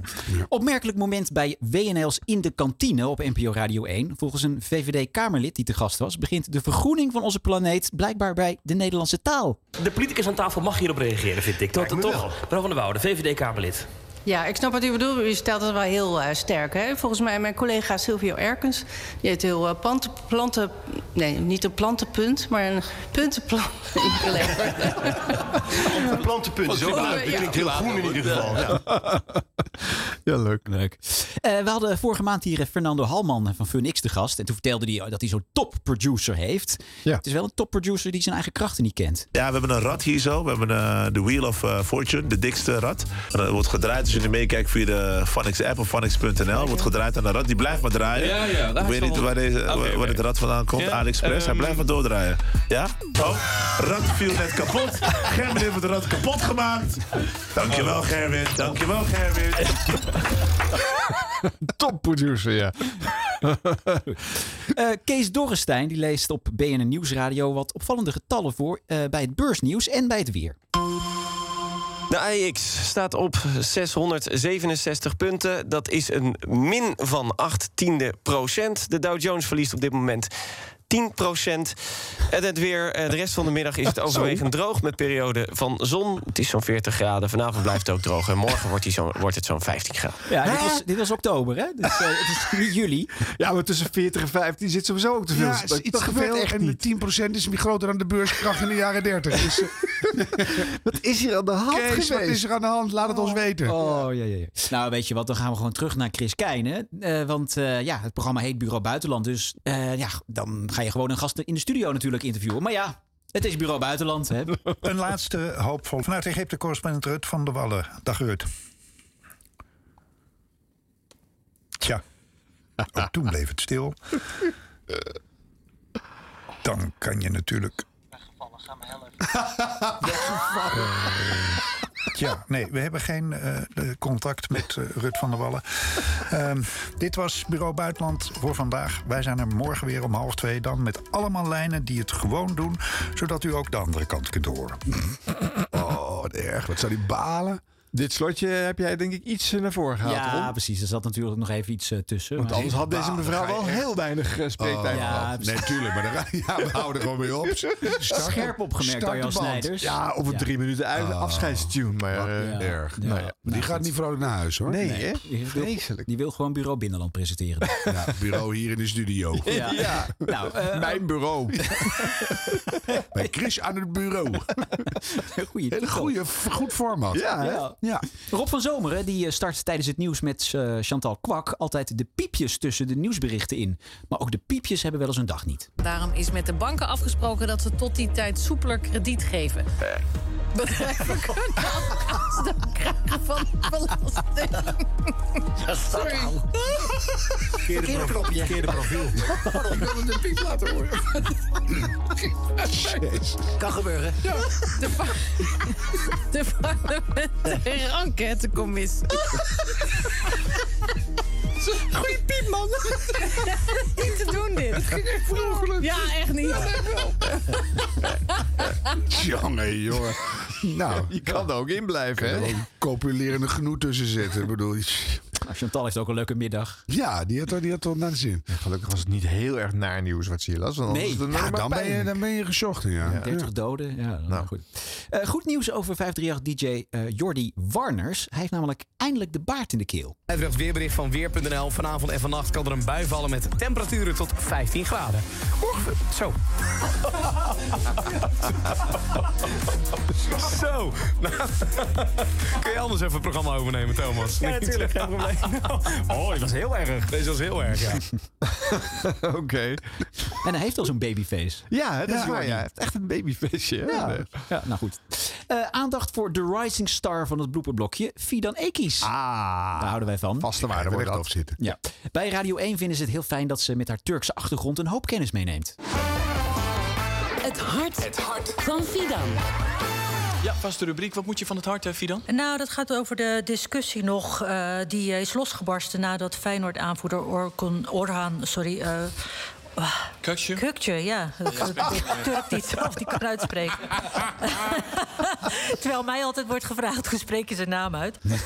[SPEAKER 3] eh, Opmerkelijk moment bij WNL's in de kantine op NPO Radio 1. Volgens een VVD-Kamerlid die te gast was, begint de vergroening van onze planeet blijkbaar bij de Nederlandse taal.
[SPEAKER 22] De politicus aan tafel mag hierop reageren, vind ik. Dat toch? Mevrouw van der Woude, VVD-Kamerlid.
[SPEAKER 23] Ja, ik snap wat u bedoelt. U stelt het wel heel eh, sterk. Hè? Volgens mij, mijn collega Silvio Erkens... die heeft heel eh, plant, planten... Nee, niet een plantenpunt, maar een puntenplan.
[SPEAKER 24] Een plantenpunt is ook
[SPEAKER 3] Oh,
[SPEAKER 24] leuk. Dat
[SPEAKER 3] ja.
[SPEAKER 24] klinkt heel groen in ieder geval. Ja.
[SPEAKER 5] Ja, leuk.
[SPEAKER 3] leuk. Eh, we hadden vorige maand hier eh, Fernando Halman van FunX te gast. En toen vertelde hij dat hij zo'n topproducer heeft. Het is wel een topproducer die zijn eigen krachten niet kent.
[SPEAKER 24] Ja, we hebben een rat hier zo. We hebben eh, de Wheel of eh, Fortune, de dikste rat. En dat wordt gedraaid dus als jullie meekijken via de Funix app of Funix.nl. Wordt gedraaid aan de rat. Die blijft maar draaien.
[SPEAKER 25] Ja, ja, daar
[SPEAKER 24] Ik
[SPEAKER 25] is
[SPEAKER 24] weet niet
[SPEAKER 25] wel-
[SPEAKER 24] waar, deze,
[SPEAKER 25] Oké,
[SPEAKER 24] waar
[SPEAKER 25] oké.
[SPEAKER 24] het rad vandaan komt.
[SPEAKER 25] Ja,
[SPEAKER 24] AliExpress. Hij
[SPEAKER 25] ehm.
[SPEAKER 24] blijft maar doordraaien. Ja? Oh, rat viel net kapot.
[SPEAKER 25] Oh.
[SPEAKER 24] Gerwin heeft het rad kapot gemaakt. Dankjewel Gerwin. Dankjewel Gerwin.
[SPEAKER 5] Topproducer, ja.
[SPEAKER 3] Eh, Kees Dorrestein die leest op BNN Nieuwsradio wat opvallende getallen voor eh, bij het beursnieuws en bij het weer.
[SPEAKER 9] De AEX staat op 667 punten. Dat is een min van 8 tiende procent. De Dow Jones verliest op dit moment 10 procent. En het weer, eh, de rest van de middag is het overwegend droog... met perioden van zon. Het is zo'n 40 graden. Vanavond blijft het ook droog. En morgen wordt, die zo, wordt het zo'n 15 graden.
[SPEAKER 3] Ja, dit was, dit was oktober, hè? Dus, eh, het is niet juli.
[SPEAKER 5] Ah. Ja, maar tussen 40 en 15 zit sowieso ook te veel.
[SPEAKER 4] Ja, is iets gebeurd echt niet. 10% is groter dan de beurskracht in de jaren 30. Dus,
[SPEAKER 5] wat is hier aan de hand
[SPEAKER 4] Kees, wat
[SPEAKER 3] geweest?
[SPEAKER 4] is er aan de hand? Laat het ons weten.
[SPEAKER 3] Oh, ja, ja, ja. Nou, weet je wat, dan gaan we gewoon terug naar Chris Keijnen. Eh, want eh, ja, het programma heet Bureau Buitenland. Dus eh, ja, dan ga je gewoon een gast in de studio natuurlijk interviewen. Maar ja, het is Bureau Buitenland, hè?
[SPEAKER 26] Een laatste hoopvol. Vanuit Egypte correspondent Rut van der Wallen. Dag Rut. Tja, ook toen bleef het stil. Eh, Dan kan je natuurlijk... Ja, Eh, nee, we hebben geen eh, contact met eh, Rut van der Wallen. Ehm, dit was Bureau Buitenland voor vandaag. Wij zijn er morgen weer om half twee dan met allemaal lijnen die het gewoon doen... zodat u ook de andere kant kunt horen.
[SPEAKER 4] Oh, wat erg. Wat zou die balen?
[SPEAKER 5] Dit slotje heb jij denk ik iets eh, naar voren gehaald.
[SPEAKER 3] Ja,
[SPEAKER 5] Ron.
[SPEAKER 3] precies. Er zat natuurlijk nog even iets eh, tussen.
[SPEAKER 5] Want anders had deze mevrouw wel heel weinig eh,
[SPEAKER 3] Oh,
[SPEAKER 5] spreektijd
[SPEAKER 3] ja,
[SPEAKER 5] gehad.
[SPEAKER 3] precies. Nee,
[SPEAKER 4] tuurlijk, maar daar- ja, we houden gewoon mee op. Start
[SPEAKER 3] Scherp opgemerkt,
[SPEAKER 5] start
[SPEAKER 3] Arjan
[SPEAKER 5] de band.
[SPEAKER 3] Snijders.
[SPEAKER 5] Ja, op een
[SPEAKER 3] Ja.
[SPEAKER 5] drie minuten uit,
[SPEAKER 3] Ah.
[SPEAKER 5] afscheidstune. Maar eh,
[SPEAKER 3] Ja.
[SPEAKER 5] erg.
[SPEAKER 3] Ja.
[SPEAKER 5] Nou ja.
[SPEAKER 4] Die gaat niet vrolijk naar huis, hoor.
[SPEAKER 5] Nee, hè?
[SPEAKER 3] Die wil, die wil gewoon Bureau Binnenland presenteren.
[SPEAKER 4] Ja, bureau hier in de studio.
[SPEAKER 3] Ja. Nou, eh,
[SPEAKER 5] Mijn bureau.
[SPEAKER 4] Bij Chris aan het bureau.
[SPEAKER 3] Goeie
[SPEAKER 4] Hele goede, goed format.
[SPEAKER 3] Ja. Rob van Zomeren die eh, start tijdens het nieuws met eh, Chantal Kwak altijd de piepjes tussen de nieuwsberichten in. Maar ook de piepjes hebben wel eens een dag niet.
[SPEAKER 1] Daarom is met de banken afgesproken dat ze tot die tijd soepeler krediet geven. Bedrijven kunnen afstand krijgen van de belasting. Sorry.
[SPEAKER 24] Verkeerde
[SPEAKER 1] knopje.
[SPEAKER 24] Verkeerde profiel. Ik wil hem de piep laten horen. Kan gebeuren.
[SPEAKER 1] De, par de parlementaire enquêtecommissie. Goeie piep, man. niet te doen, dit. Het ging echt Ja, echt niet.
[SPEAKER 4] Jongen, jongen. Nou,
[SPEAKER 5] je kan er ook in blijven,
[SPEAKER 4] hè? Een copulerende genoeg tussen zitten. Ik bedoel,
[SPEAKER 3] Chantal heeft ook een leuke middag.
[SPEAKER 4] Ja, die had, die had wel naar de zin.
[SPEAKER 5] Gelukkig was het niet heel erg naar nieuws wat ze hier las. want anders
[SPEAKER 4] Nee.
[SPEAKER 5] was het
[SPEAKER 4] Ja,
[SPEAKER 5] alleen maar
[SPEAKER 4] dan ben je-
[SPEAKER 5] pijn.
[SPEAKER 4] dan ben je gezocht, ja. Ja.
[SPEAKER 3] 30 doden. Ja, nou. goed. Eh, goed nieuws over 538-DJ eh, Jordi Warners. Hij heeft namelijk eindelijk de baard in de keel.
[SPEAKER 27] Even het weerbericht van Weer.nl. Vanavond en vannacht kan er een bui vallen met temperaturen tot 15 graden. Morgen, zo. zo. Nou, Kun je anders even het programma overnemen, Thomas?
[SPEAKER 25] Ja, natuurlijk,
[SPEAKER 27] geen probleem. Oh, dit was heel erg. Deze was heel erg, ja.
[SPEAKER 5] Oké.
[SPEAKER 3] En hij heeft al zo'n babyface.
[SPEAKER 5] Ja, dat is
[SPEAKER 3] Ja.
[SPEAKER 5] waar. Ja. Hij heeft Echt een babyfeestje.
[SPEAKER 3] Ja. Ja, nou goed. Eh, aandacht voor de rising star van het blooperblokje, Fidan Ekis. Ah, Daar houden wij van.
[SPEAKER 5] Vaste waarde
[SPEAKER 4] wordt dat. zitten.
[SPEAKER 3] Ja. Bij Radio 1 vinden ze het heel fijn dat ze met haar Turkse achtergrond een hoop kennis meeneemt.
[SPEAKER 28] Het hart, het hart. van Fidan.
[SPEAKER 25] Ja, vaste rubriek. Wat moet je van het hart, hè, Fidan?
[SPEAKER 28] Nou, dat gaat over de discussie nog. eh, die eh, is losgebarsten nadat Feyenoord-aanvoerder Orkun Orhan sorry, eh, Kukje? ja. Eh, Dat
[SPEAKER 2] Ja.
[SPEAKER 28] durf ik niet zelf die kan uitspreken. Terwijl mij altijd wordt gevraagd, hoe spreek je zijn naam uit?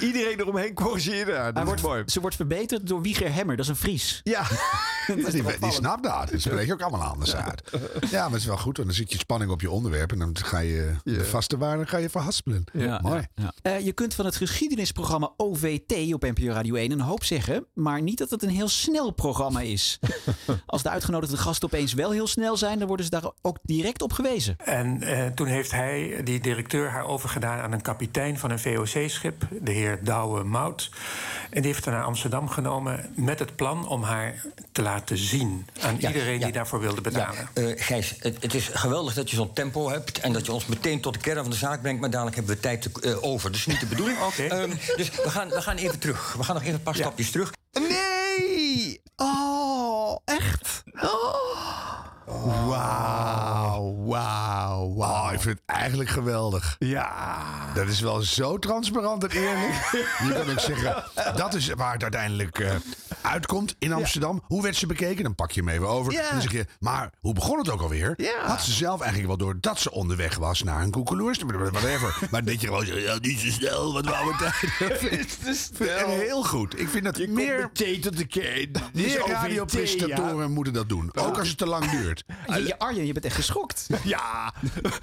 [SPEAKER 5] Iedereen eromheen corrigeerde haar. Dat wordt mooi.
[SPEAKER 3] Ze wordt verbeterd door Wieger Hemmer, dat is een Fries.
[SPEAKER 5] Ja.
[SPEAKER 3] is
[SPEAKER 4] die, die
[SPEAKER 3] opvallend.
[SPEAKER 4] snapt dat. Die spreekt ook allemaal anders uit. Ja, maar het is wel goed, want dan zit je spanning op je onderwerp. En dan ga je de vaste waarde ga je verhaspelen. Mooi.
[SPEAKER 3] ja. Eh, je kunt van het geschiedenisprogramma OVT op NPO Radio 1 een hoop zeggen, maar niet dat het een heel snel programma is. Als de uitgenodigde gasten opeens wel heel snel zijn, dan worden ze daar ook direct op gewezen.
[SPEAKER 13] En eh, toen heeft hij, die directeur, haar overgedaan aan een kapitein van een VOC-schip, de heer Douwe Mout. En die heeft haar naar Amsterdam genomen met het plan om haar te laten zien aan
[SPEAKER 25] Ja,
[SPEAKER 13] iedereen die daarvoor wilde betalen.
[SPEAKER 25] Eh, Gijs, het, het is geweldig dat je zo'n tempo hebt en dat je ons meteen tot de kern van de zaak brengt, maar dadelijk hebben we tijd te- eh, over. Dus niet de bedoeling. Ehm, dus we gaan, we gaan even terug. We gaan nog even een paar stapjes terug.
[SPEAKER 5] Nee! Oh, echt?
[SPEAKER 25] Oh.
[SPEAKER 4] Wauw, wauw, wauw. Oh, ik vind het eigenlijk geweldig.
[SPEAKER 5] Ja.
[SPEAKER 4] Dat is wel zo transparant en eerlijk. Je kan ook zeggen, dat is waar het uiteindelijk eh, uitkomt in Amsterdam. Hoe werd ze bekeken? Dan pak je hem even over.
[SPEAKER 5] Ja.
[SPEAKER 4] En dan zeg je, maar hoe begon het ook alweer?
[SPEAKER 5] Ja.
[SPEAKER 4] Had ze zelf eigenlijk wel door dat ze onderweg was naar een koekeloers? Whatever. maar dat je
[SPEAKER 29] Oh,
[SPEAKER 4] gewoon zegt, ja, niet zo snel, wat wou het En heel goed. Ik vind dat meer...
[SPEAKER 5] meteen tot de kern.
[SPEAKER 4] Meer
[SPEAKER 5] OVT,
[SPEAKER 4] radiopresentatoren moeten dat doen. Ook als het te lang duurt.
[SPEAKER 3] Je, je Arjen, je bent echt geschokt.
[SPEAKER 5] Ja,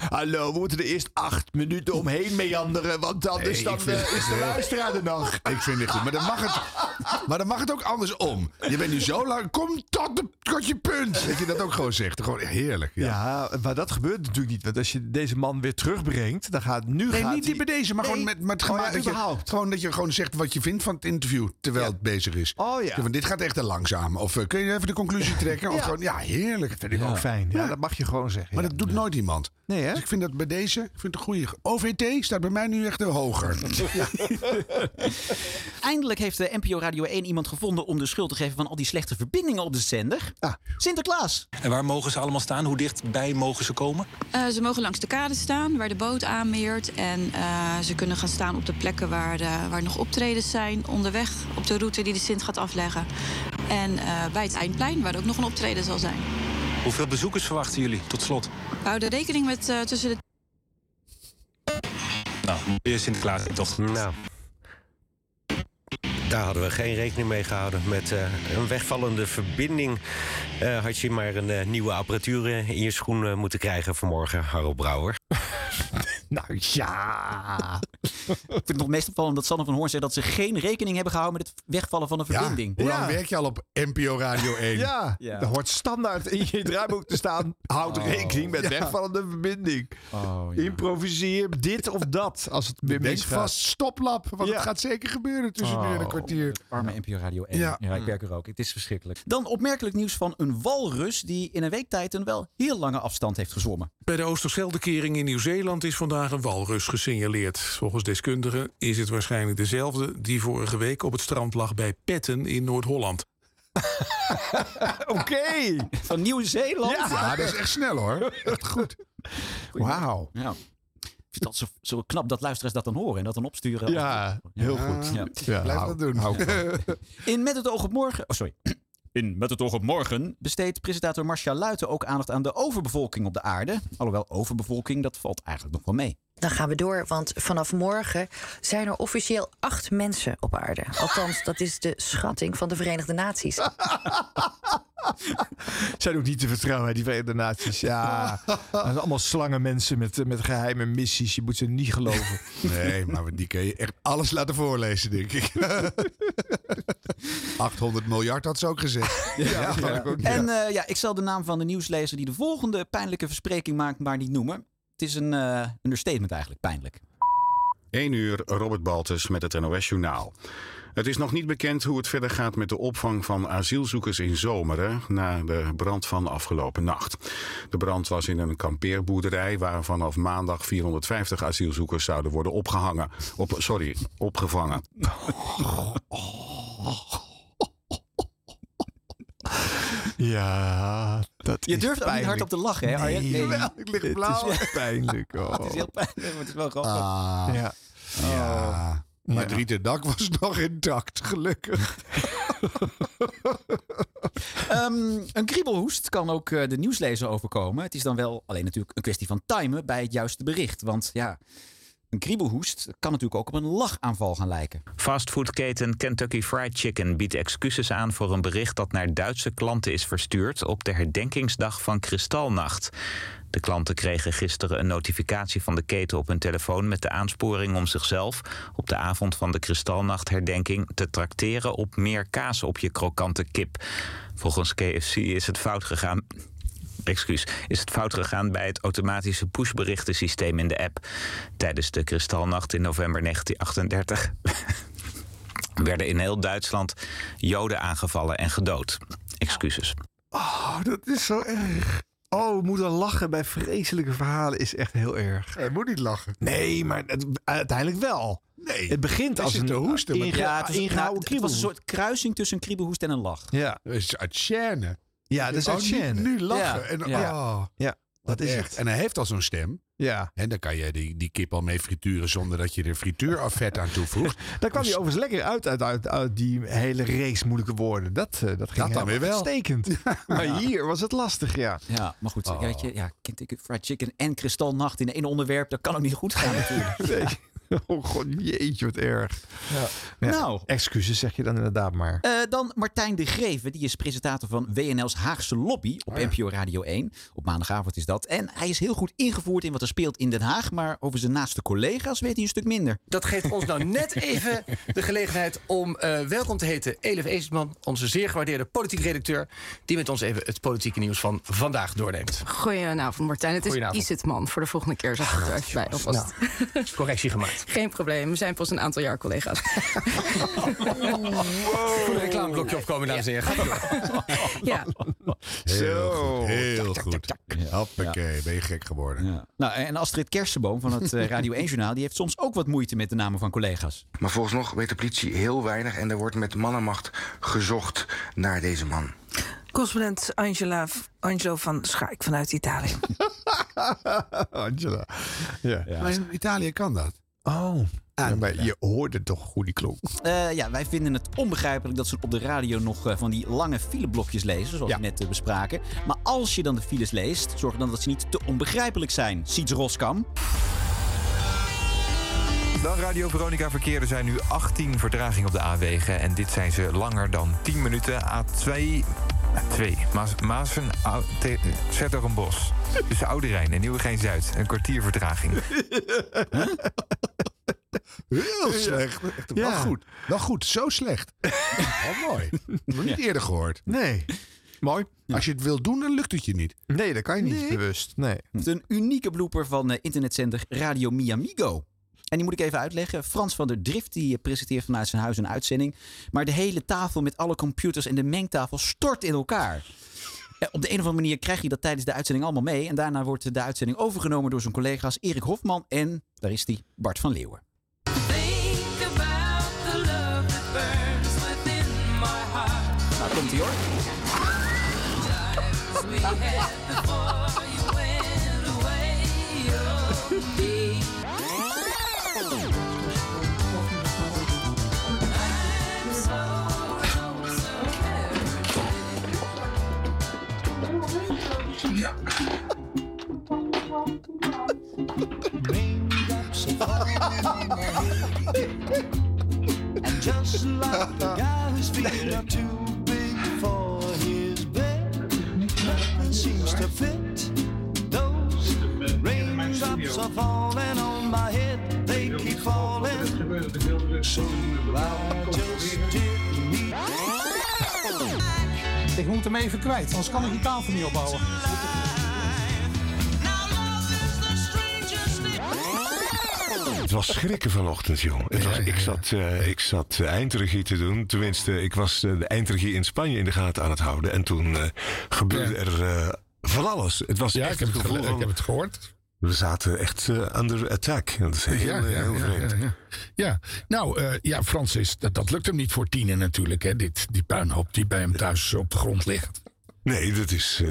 [SPEAKER 5] hallo, we moeten er eerst acht minuten omheen meanderen, want anders
[SPEAKER 4] Nee,
[SPEAKER 5] dan,
[SPEAKER 4] ik vind
[SPEAKER 5] eh,
[SPEAKER 4] het
[SPEAKER 5] is de
[SPEAKER 4] heel-
[SPEAKER 5] luisteraar er nog.
[SPEAKER 4] Ik vind het goed. Maar dan mag het, maar dan mag het ook andersom. Je bent nu zo lang. Kom tot, de, tot je punt. Dat je dat ook gewoon zegt. Gewoon heerlijk. Ja.
[SPEAKER 5] Ja. maar dat gebeurt natuurlijk niet. Want als je deze man weer terugbrengt, dan gaat nu
[SPEAKER 4] Nee,
[SPEAKER 5] gaat Oh
[SPEAKER 4] niet die bij deze, maar gewoon met, met gemaakt dat, je, gewoon dat je gewoon zegt wat je vindt van het interview terwijl het bezig is. Oh ja. Want dit gaat echt te langzaam. Of eh, kun je even de conclusie trekken? Of
[SPEAKER 5] Ja.
[SPEAKER 4] gewoon, ja, heerlijk. Dat vind ik
[SPEAKER 5] ook fijn. Ja, dat mag je gewoon zeggen.
[SPEAKER 4] Maar dat doet nooit iemand. Nee, hè? Dus ik vind dat bij deze, ik vind het een goede. OVT staat bij mij nu echt eh, hoger.
[SPEAKER 3] Eindelijk heeft de NPO Radio 1 iemand gevonden om de schuld te geven van al die slechte verbindingen op de zender.
[SPEAKER 4] Ah.
[SPEAKER 3] Sinterklaas.
[SPEAKER 30] En waar mogen ze allemaal staan? Hoe dichtbij mogen ze komen?
[SPEAKER 21] Eh, ze mogen langs de kade staan waar de boot aanmeert. En eh, ze kunnen gaan staan op de plekken waar, de- waar nog optredens zijn. Onderweg op de route die de Sint gaat afleggen. En eh, bij het eindplein waar ook nog een optreden zal zijn.
[SPEAKER 30] Hoeveel bezoekers verwachten jullie tot slot?
[SPEAKER 21] We houden rekening met eh, tussen de
[SPEAKER 30] Nou, weer Sinterklaas toch?
[SPEAKER 20] Nou. Daar hadden we geen rekening mee gehouden. Met eh, een wegvallende verbinding eh, had je maar een eh, nieuwe apparatuur eh, in je schoen eh, moeten krijgen vanmorgen, Harold Brouwer.
[SPEAKER 3] Nou ja. ik vind het nog meest opvallend dat Sanne van Hoorn zei dat ze geen rekening hebben gehouden met het wegvallen van een verbinding.
[SPEAKER 4] Hoe lang werk je al op NPO Radio 1?
[SPEAKER 5] Ja,
[SPEAKER 3] Ja.
[SPEAKER 5] dat hoort standaard in je draaiboek te staan. Houd
[SPEAKER 4] Oh.
[SPEAKER 5] rekening met
[SPEAKER 4] Ja.
[SPEAKER 5] wegvallende verbinding.
[SPEAKER 3] Oh,
[SPEAKER 5] Improviseer dit of dat als het weer
[SPEAKER 4] Denk
[SPEAKER 5] misgaat.
[SPEAKER 4] vast stoplap, want
[SPEAKER 5] Ja.
[SPEAKER 4] het gaat zeker gebeuren tussen nu en een
[SPEAKER 3] Oh.
[SPEAKER 4] kwartier.
[SPEAKER 3] Arme NPO Radio 1.
[SPEAKER 4] Ja.
[SPEAKER 3] Ja. ik werk er ook. Het is verschrikkelijk. Dan opmerkelijk nieuws van een walrus die in een week tijd een wel heel lange afstand heeft gezwommen.
[SPEAKER 7] Bij de Oosterscheldekering in Nieuw-Zeeland is vandaag een walrus gesignaleerd. Volgens deskundigen is het waarschijnlijk dezelfde die vorige week op het strand lag bij Petten in Noord-Holland.
[SPEAKER 5] Oké.
[SPEAKER 3] Van Nieuw-Zeeland.
[SPEAKER 4] Ja. dat is echt snel hoor. Echt goed.
[SPEAKER 5] Wauw.
[SPEAKER 3] Ja. Ik vind dat zo, zo knap dat luisteraars dat dan horen en dat dan opsturen.
[SPEAKER 5] Ja, heel goed.
[SPEAKER 3] Ja.
[SPEAKER 5] Ja, Blijf hou- dat doen. hou ik
[SPEAKER 3] In Met het oog op morgen... Oh, sorry. In Met het oog op morgen besteedt presentator Marcia Luiten ook aandacht aan de overbevolking op de aarde. Alhoewel overbevolking, dat valt eigenlijk nog wel mee.
[SPEAKER 1] Dan gaan we door, want vanaf morgen zijn er officieel acht mensen op aarde. Althans, dat is de schatting van de Verenigde Naties.
[SPEAKER 5] Zijn ook niet te vertrouwen, hè, die Verenigde Naties. Ja, dat zijn allemaal slangenmensen met, eh, met geheime missies. Je moet ze niet geloven.
[SPEAKER 4] Nee, maar die kun je echt alles laten voorlezen, denk ik. 800 miljard had ze ook gezegd. Ja, dat kan ik ook niet.
[SPEAKER 3] En eh, ja, ik zal de naam van de nieuwslezer die de volgende pijnlijke verspreking maakt, maar niet noemen. Het is een eh understatement eigenlijk, pijnlijk.
[SPEAKER 31] 1 uur, Robert Baltus met het NOS-journaal. Het is nog niet bekend hoe het verder gaat met de opvang van asielzoekers in Zomeren na de brand van afgelopen nacht. De brand was in een kampeerboerderij waar vanaf maandag 450 asielzoekers zouden worden opgehangen. Op, sorry, opgevangen.
[SPEAKER 5] Ja, dat
[SPEAKER 3] Je durft ook niet hard op te lachen, hè, Arjen? Nee.
[SPEAKER 5] Jawel, ik lig blauw.
[SPEAKER 3] Het
[SPEAKER 5] is pijnlijk.
[SPEAKER 3] Het is heel pijnlijk, maar het is wel grappig.
[SPEAKER 4] oh. Ah.
[SPEAKER 5] Ja. Oh.
[SPEAKER 4] Ja. Maar Drietendak was nog intact, gelukkig.
[SPEAKER 3] Ehm, een kriebelhoest kan ook eh, de nieuwslezer overkomen. Het is dan wel alleen natuurlijk een kwestie van timen bij het juiste bericht. Want ja, een kriebelhoest kan natuurlijk ook op een lachaanval gaan lijken.
[SPEAKER 20] Fastfoodketen Kentucky Fried Chicken biedt excuses aan voor een bericht dat naar Duitse klanten is verstuurd op de herdenkingsdag van Kristalnacht. De klanten kregen gisteren een notificatie van de keten op hun telefoon met de aansporing om zichzelf op de avond van de Kristalnachtherdenking te trakteren op meer kaas op je krokante kip. Volgens KFC is het fout gegaan excuus, is het fout gegaan bij het automatische pushberichtensysteem in de app. Tijdens de kristalnacht in november 1938 werden in heel Duitsland Joden aangevallen en gedood. Excuses.
[SPEAKER 5] Oh, dat is zo erg. Oh, moeder lachen bij vreselijke verhalen is echt heel erg.
[SPEAKER 4] Nee, moet niet lachen.
[SPEAKER 5] Nee, maar het, uiteindelijk wel.
[SPEAKER 4] Nee.
[SPEAKER 5] Het begint als een
[SPEAKER 3] hoesten.
[SPEAKER 5] inge-
[SPEAKER 3] ja, het was, nou,
[SPEAKER 5] ingehouden
[SPEAKER 3] het was een
[SPEAKER 5] kriebel.
[SPEAKER 3] soort kruising tussen een kriebelhoest en een lach.
[SPEAKER 5] Ja.
[SPEAKER 4] Dat is uit scène.
[SPEAKER 5] Ja, dat is uit
[SPEAKER 4] Oh, nu-
[SPEAKER 5] scène.
[SPEAKER 4] Nu lachen.
[SPEAKER 5] Ja.
[SPEAKER 4] En, oh,
[SPEAKER 5] Ja. Ja, dat is
[SPEAKER 4] echt.
[SPEAKER 5] het.
[SPEAKER 4] En hij heeft al zo'n stem.
[SPEAKER 5] Ja.
[SPEAKER 4] En dan kan je die, die kip al mee frituren zonder dat je er frituurafvet aan
[SPEAKER 5] Oh,
[SPEAKER 4] toevoegt.
[SPEAKER 5] Daar kwam je
[SPEAKER 4] Dus
[SPEAKER 5] overigens lekker uit, uit, uit, uit die hele race moeilijke woorden. Dat, eh, dat ging
[SPEAKER 4] dan weer wel.
[SPEAKER 5] stekend. Maar hier was het lastig, ja.
[SPEAKER 3] Ja, maar
[SPEAKER 5] Oh.
[SPEAKER 3] goed, weet je, ja, Kentucky Fried Chicken en kristalnacht in één onderwerp, dat kan ook niet goed gaan natuurlijk.
[SPEAKER 5] Nee. Oh god, jeetje, wat erg. Ja,
[SPEAKER 3] Nou.
[SPEAKER 5] Excuses zeg je dan inderdaad maar.
[SPEAKER 3] Eh, dan Martijn de Greven, die is presentator van WNL's Haagse Lobby op NPO Radio 1. Op maandagavond is dat. En hij is heel goed ingevoerd in wat er speelt in Den Haag, maar over zijn naaste collega's weet hij een stuk minder.
[SPEAKER 14] Dat geeft ons nou net even de gelegenheid om eh, welkom te heten Elif Eesman, onze zeer gewaardeerde politiek redacteur, die met ons even het politieke nieuws van vandaag doorneemt.
[SPEAKER 16] Goedenavond Martijn, het is
[SPEAKER 14] Goedenavond.
[SPEAKER 16] Isetman voor de volgende keer zeg ik er even bij. alvast.
[SPEAKER 14] Correctie gemaakt.
[SPEAKER 16] Geen probleem, we zijn pas een aantal jaar collega's.
[SPEAKER 14] Voor de reclameblokje opkomen, dames en heren. Gaat door.
[SPEAKER 16] ja,
[SPEAKER 4] Heel goed. Heel goed. Hoppakee, ben je gek geworden.
[SPEAKER 3] Nou, en Astrid Kersenboom van het eh, Radio 1-journaal, die heeft soms ook wat moeite met de namen van collega's.
[SPEAKER 8] Maar vooralsnog weet de politie heel weinig en er wordt met mannenmacht gezocht naar deze man. Correspondent Angela, Angelo van Schaik vanuit Italië.
[SPEAKER 5] Angela. Ja.
[SPEAKER 4] Maar in Italië kan dat.
[SPEAKER 5] Oh. Ja, maar je hoorde toch hoe die klonk.
[SPEAKER 3] Eh, ja, wij vinden het onbegrijpelijk dat ze op de radio nog eh, van die lange fileblokjes lezen, zoals we net eh, bespraken. Maar als je dan de files leest, zorg dan dat ze niet te onbegrijpelijk zijn, ziet Roskam.
[SPEAKER 17] Dan Radio Veronica Verkeer. Er zijn nu 18 vertragingen op de A-wegen. En dit zijn ze langer dan 10 minuten. A2... 2. Maas, Maasen... Zetterenbos. Tussen Oude Rijn en Nieuwegein-Zuid. Een kwartier vertraging.
[SPEAKER 4] Heel slecht. Echt wel
[SPEAKER 5] Ja.
[SPEAKER 4] goed. Wel goed, zo slecht. Wel mooi. Nog niet eerder gehoord.
[SPEAKER 5] Nee. Mooi.
[SPEAKER 4] Als je het wil doen, dan lukt het je niet.
[SPEAKER 5] Nee, dat kan je
[SPEAKER 3] niet
[SPEAKER 5] bewust. Nee.
[SPEAKER 3] Het is een unieke blooper van eh, internetzender Radio Miamigo. En die moet ik even uitleggen. Frans van der Drift die eh, presenteert vanuit zijn huis een uitzending. Maar de hele tafel met alle computers en de mengtafel stort in elkaar. Eh, Op de een of andere manier krijg je dat tijdens de uitzending allemaal mee. En daarna wordt de uitzending overgenomen door zijn collega's Erik Hofman en, daar is die, Bart van Leeuwen.
[SPEAKER 8] Nou, komt hij hoor.
[SPEAKER 1] oh, And just like the guy whose feet are too big for his bed, nothing seems to fit. Those raindrops are falling on my head, they keep falling. So I just did me.
[SPEAKER 21] Ik moet hem even kwijt, anders kan ik die tafel niet opbouwen.
[SPEAKER 32] Het was schrikken vanochtend, joh. Het was, ik zat, eh, ik zat eh, eindregie te doen. Tenminste, ik was eh, de eindregie in Spanje in de gaten aan het houden. En toen eh, gebeurde er eh, van alles. Het was
[SPEAKER 4] Ja,
[SPEAKER 32] echt
[SPEAKER 4] ik heb het,
[SPEAKER 32] gevoel
[SPEAKER 4] gele-
[SPEAKER 32] van-
[SPEAKER 4] ik heb het gehoord.
[SPEAKER 32] We zaten echt eh, under attack. Dat is heel,
[SPEAKER 4] ja,
[SPEAKER 32] eh, heel
[SPEAKER 4] ja,
[SPEAKER 32] vreemd.
[SPEAKER 4] ja, ja. Ja, nou, eh, ja, Francis, dat, dat lukt hem niet voor tienen natuurlijk. Hè, dit, die puinhoop die bij hem thuis op de grond ligt.
[SPEAKER 32] Nee, dat is eh,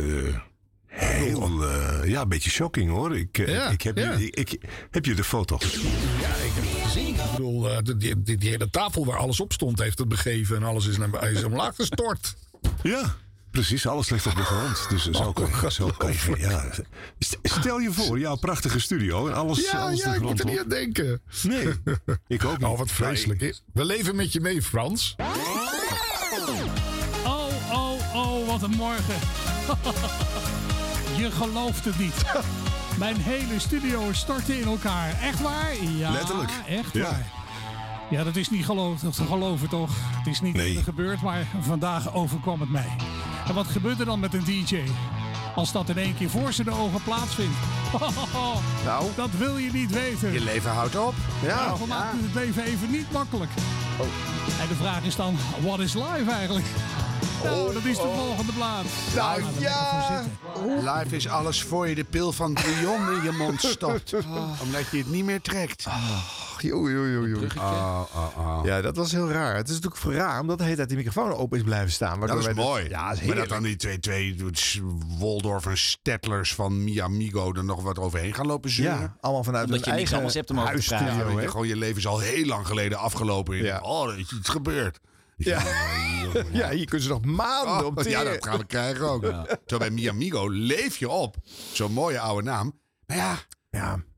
[SPEAKER 32] heel... eh, ja, een beetje shocking, hoor. Ik, eh,
[SPEAKER 4] Ja,
[SPEAKER 32] ik, heb,
[SPEAKER 4] ja.
[SPEAKER 32] je, ik, ik- heb je de foto's?
[SPEAKER 4] Ja, ik heb het gezien. Ik bedoel, eh, die, die, die hele tafel waar alles op stond heeft het begeven en alles is, naar, is omlaag gestort.
[SPEAKER 32] Ja. Precies, alles ligt op de grond. Dus zo
[SPEAKER 5] Oh,
[SPEAKER 32] kan zo kan je. Ja. St- Stel je voor, jouw prachtige studio en alles,
[SPEAKER 33] ja,
[SPEAKER 32] alles
[SPEAKER 33] ja,
[SPEAKER 32] de
[SPEAKER 33] ik
[SPEAKER 32] grond
[SPEAKER 33] moet er niet
[SPEAKER 32] op.
[SPEAKER 33] aan denken.
[SPEAKER 32] Nee, ik ook niet.
[SPEAKER 33] Oh, wat vreselijk. We leven met je mee, Frans.
[SPEAKER 13] Oh, oh, oh, wat een morgen. Je gelooft het niet. Mijn hele studio stortte in elkaar. Echt waar? Ja,
[SPEAKER 32] Letterlijk.
[SPEAKER 13] Echt
[SPEAKER 32] Ja.
[SPEAKER 13] waar. Ja, dat is niet geloof, te geloven toch? Het is niet
[SPEAKER 32] Nee.
[SPEAKER 13] gebeurd, maar vandaag overkwam het mij. En wat gebeurt er dan met een DJ? Als dat in één keer voor zijn ogen plaatsvindt. nou, dat wil je niet weten.
[SPEAKER 4] Je leven houdt op. Ja.
[SPEAKER 13] Daarvoor maakt het het leven even niet makkelijk. En de vraag is dan, what is live eigenlijk? Nou, dat is de volgende plaats. Laat
[SPEAKER 4] Live,
[SPEAKER 13] er lekker voor
[SPEAKER 4] Oh. Nou ja.
[SPEAKER 13] zitten.
[SPEAKER 4] Live is alles voor je de pil van Guillaume in je mond stopt.
[SPEAKER 13] Oh.
[SPEAKER 4] Omdat je het niet meer trekt.
[SPEAKER 5] Ah, Joe, joe, joe, joe.
[SPEAKER 32] Ah,
[SPEAKER 5] Ja, dat was heel raar. Het is natuurlijk voor raar omdat de hele tijd die microfoon open is blijven staan.
[SPEAKER 4] Dat
[SPEAKER 5] waardoor
[SPEAKER 4] is
[SPEAKER 5] wij dus- ja,
[SPEAKER 4] mooi.
[SPEAKER 5] dat is
[SPEAKER 4] maar
[SPEAKER 5] heerlijk.
[SPEAKER 4] dat dan die twee, twee s- Waldorf en Stettlers van Miamigo er nog wat overheen gaan lopen zeuren.
[SPEAKER 5] Ja, allemaal vanuit Omdat hun je niks eigen anders hebt om over te huisstudio, praten.
[SPEAKER 4] Ja, weet je,
[SPEAKER 5] hè?
[SPEAKER 4] gewoon je leven is al heel lang geleden afgelopen. Ja. Oh, er is iets gebeurd. Ja. Oh,
[SPEAKER 5] Ja, hier kunnen ze nog maanden op
[SPEAKER 4] Ja,
[SPEAKER 5] teren.
[SPEAKER 4] dat gaan we krijgen ook.
[SPEAKER 5] Ja.
[SPEAKER 4] Zo bij Miamigo leef je op. Zo'n mooie oude naam. Maar ja,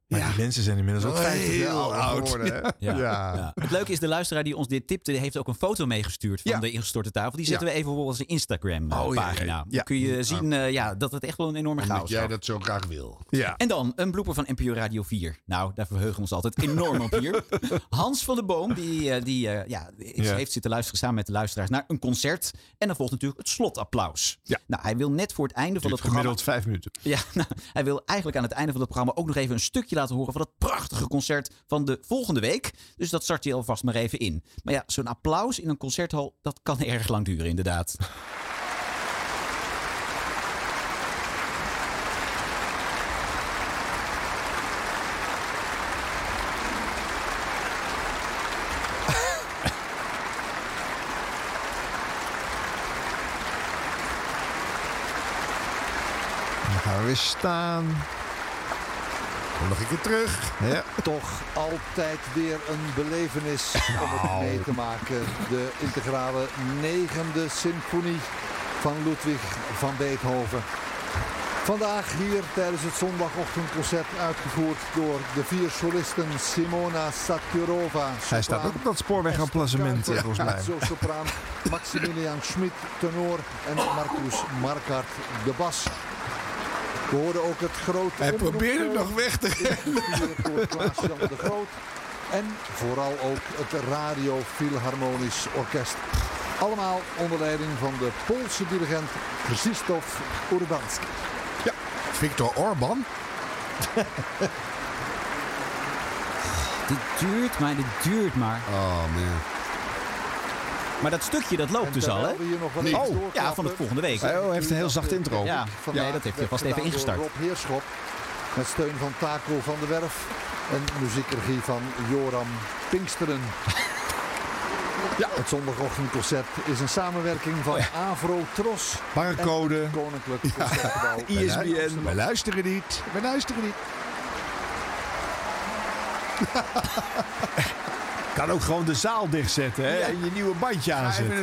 [SPEAKER 5] Maar die mensen zijn inmiddels ook
[SPEAKER 4] Heel
[SPEAKER 5] 50 jaar oud
[SPEAKER 4] oud.
[SPEAKER 5] geworden. hè?
[SPEAKER 3] Ja.
[SPEAKER 5] Ja.
[SPEAKER 3] ja. Het leuke is, de luisteraar die ons dit tipte, die heeft ook een foto meegestuurd van
[SPEAKER 5] Ja.
[SPEAKER 3] de ingestorte tafel. Die zetten
[SPEAKER 5] Ja.
[SPEAKER 3] we even op onze
[SPEAKER 5] Oh, ja,
[SPEAKER 3] Instagram-pagina.
[SPEAKER 5] ja.
[SPEAKER 3] Dan kun je zien eh, ja, dat het echt wel een enorme
[SPEAKER 4] Omdat
[SPEAKER 3] chaos
[SPEAKER 4] jij
[SPEAKER 3] was.
[SPEAKER 4] dat zo graag wil.
[SPEAKER 5] Ja.
[SPEAKER 3] En dan een blooper van NPO Radio 4. Nou, daar verheugen we ons altijd enorm op hier. Hans van der Boom, die, eh, die eh, ja, is-
[SPEAKER 5] Ja.
[SPEAKER 3] heeft zitten luisteren samen met de luisteraars naar een concert. En dan volgt natuurlijk het slotapplaus. Nou, hij wil net voor het einde van het programma...
[SPEAKER 5] Gemiddeld vijf minuten.
[SPEAKER 3] Ja, nou, hij wil eigenlijk aan het einde van het programma ook nog even een stukje laten horen van het prachtige concert van de volgende week. Dus dat start hij alvast maar even in. Maar ja, zo'n applaus in een concerthal, dat kan erg lang duren inderdaad.
[SPEAKER 5] Dan gaan we weer staan.
[SPEAKER 4] Kom nog een keer terug.
[SPEAKER 5] Ja.
[SPEAKER 26] Toch altijd weer een belevenis om het mee te maken. De integrale negende symfonie van Ludwig van Beethoven. Vandaag hier tijdens het zondagochtendconcert uitgevoerd door de vier solisten Simona Sakurova.
[SPEAKER 5] Hij staat ook op dat spoorwegemplacement, eh, volgens mij.
[SPEAKER 26] sopraan Maximilian Schmid, tenor en Marcus Markart, de bas. We horen ook het grote... eh,
[SPEAKER 4] Hij probeerde
[SPEAKER 26] omroepkoor,
[SPEAKER 4] nog weg te
[SPEAKER 26] ingestudeerd door Klaas-Jan de Groot. En vooral ook het Radio Philharmonisch Orkest. Allemaal onder leiding van de Poolse dirigent Krzysztof Urbanski.
[SPEAKER 4] Ja, Victor Orban.
[SPEAKER 3] Dit duurt maar, dit duurt maar.
[SPEAKER 4] Oh man.
[SPEAKER 3] Maar dat stukje, dat loopt
[SPEAKER 26] En
[SPEAKER 3] dus al, hè?
[SPEAKER 26] terwijl we hier nog wat Nee. even
[SPEAKER 3] Oh, ja, van de
[SPEAKER 26] doorklappen,
[SPEAKER 3] volgende week.
[SPEAKER 26] zijn
[SPEAKER 4] oh,
[SPEAKER 26] we nu dat de techniek
[SPEAKER 3] Ja,
[SPEAKER 26] van
[SPEAKER 3] nee,
[SPEAKER 26] Maak
[SPEAKER 3] dat heeft hij
[SPEAKER 26] werd
[SPEAKER 3] vast
[SPEAKER 26] gedaan
[SPEAKER 3] even
[SPEAKER 26] door
[SPEAKER 3] ingestart.
[SPEAKER 26] Rob Heerschop met steun van Taco van der Werf en muziekregie van Joram Pinksteren. Ja. Het zondagochtendconcert is een samenwerking
[SPEAKER 3] Oh
[SPEAKER 26] van Avro Tros.
[SPEAKER 5] Barcode.
[SPEAKER 26] en Koninklijk Concertgebouw.
[SPEAKER 5] E
[SPEAKER 4] ISBN. Wij luisteren niet. Wij luisteren niet.
[SPEAKER 5] Kan ook gewoon de zaal dichtzetten hè?
[SPEAKER 26] Ja.
[SPEAKER 5] en je nieuwe bandje aanzetten.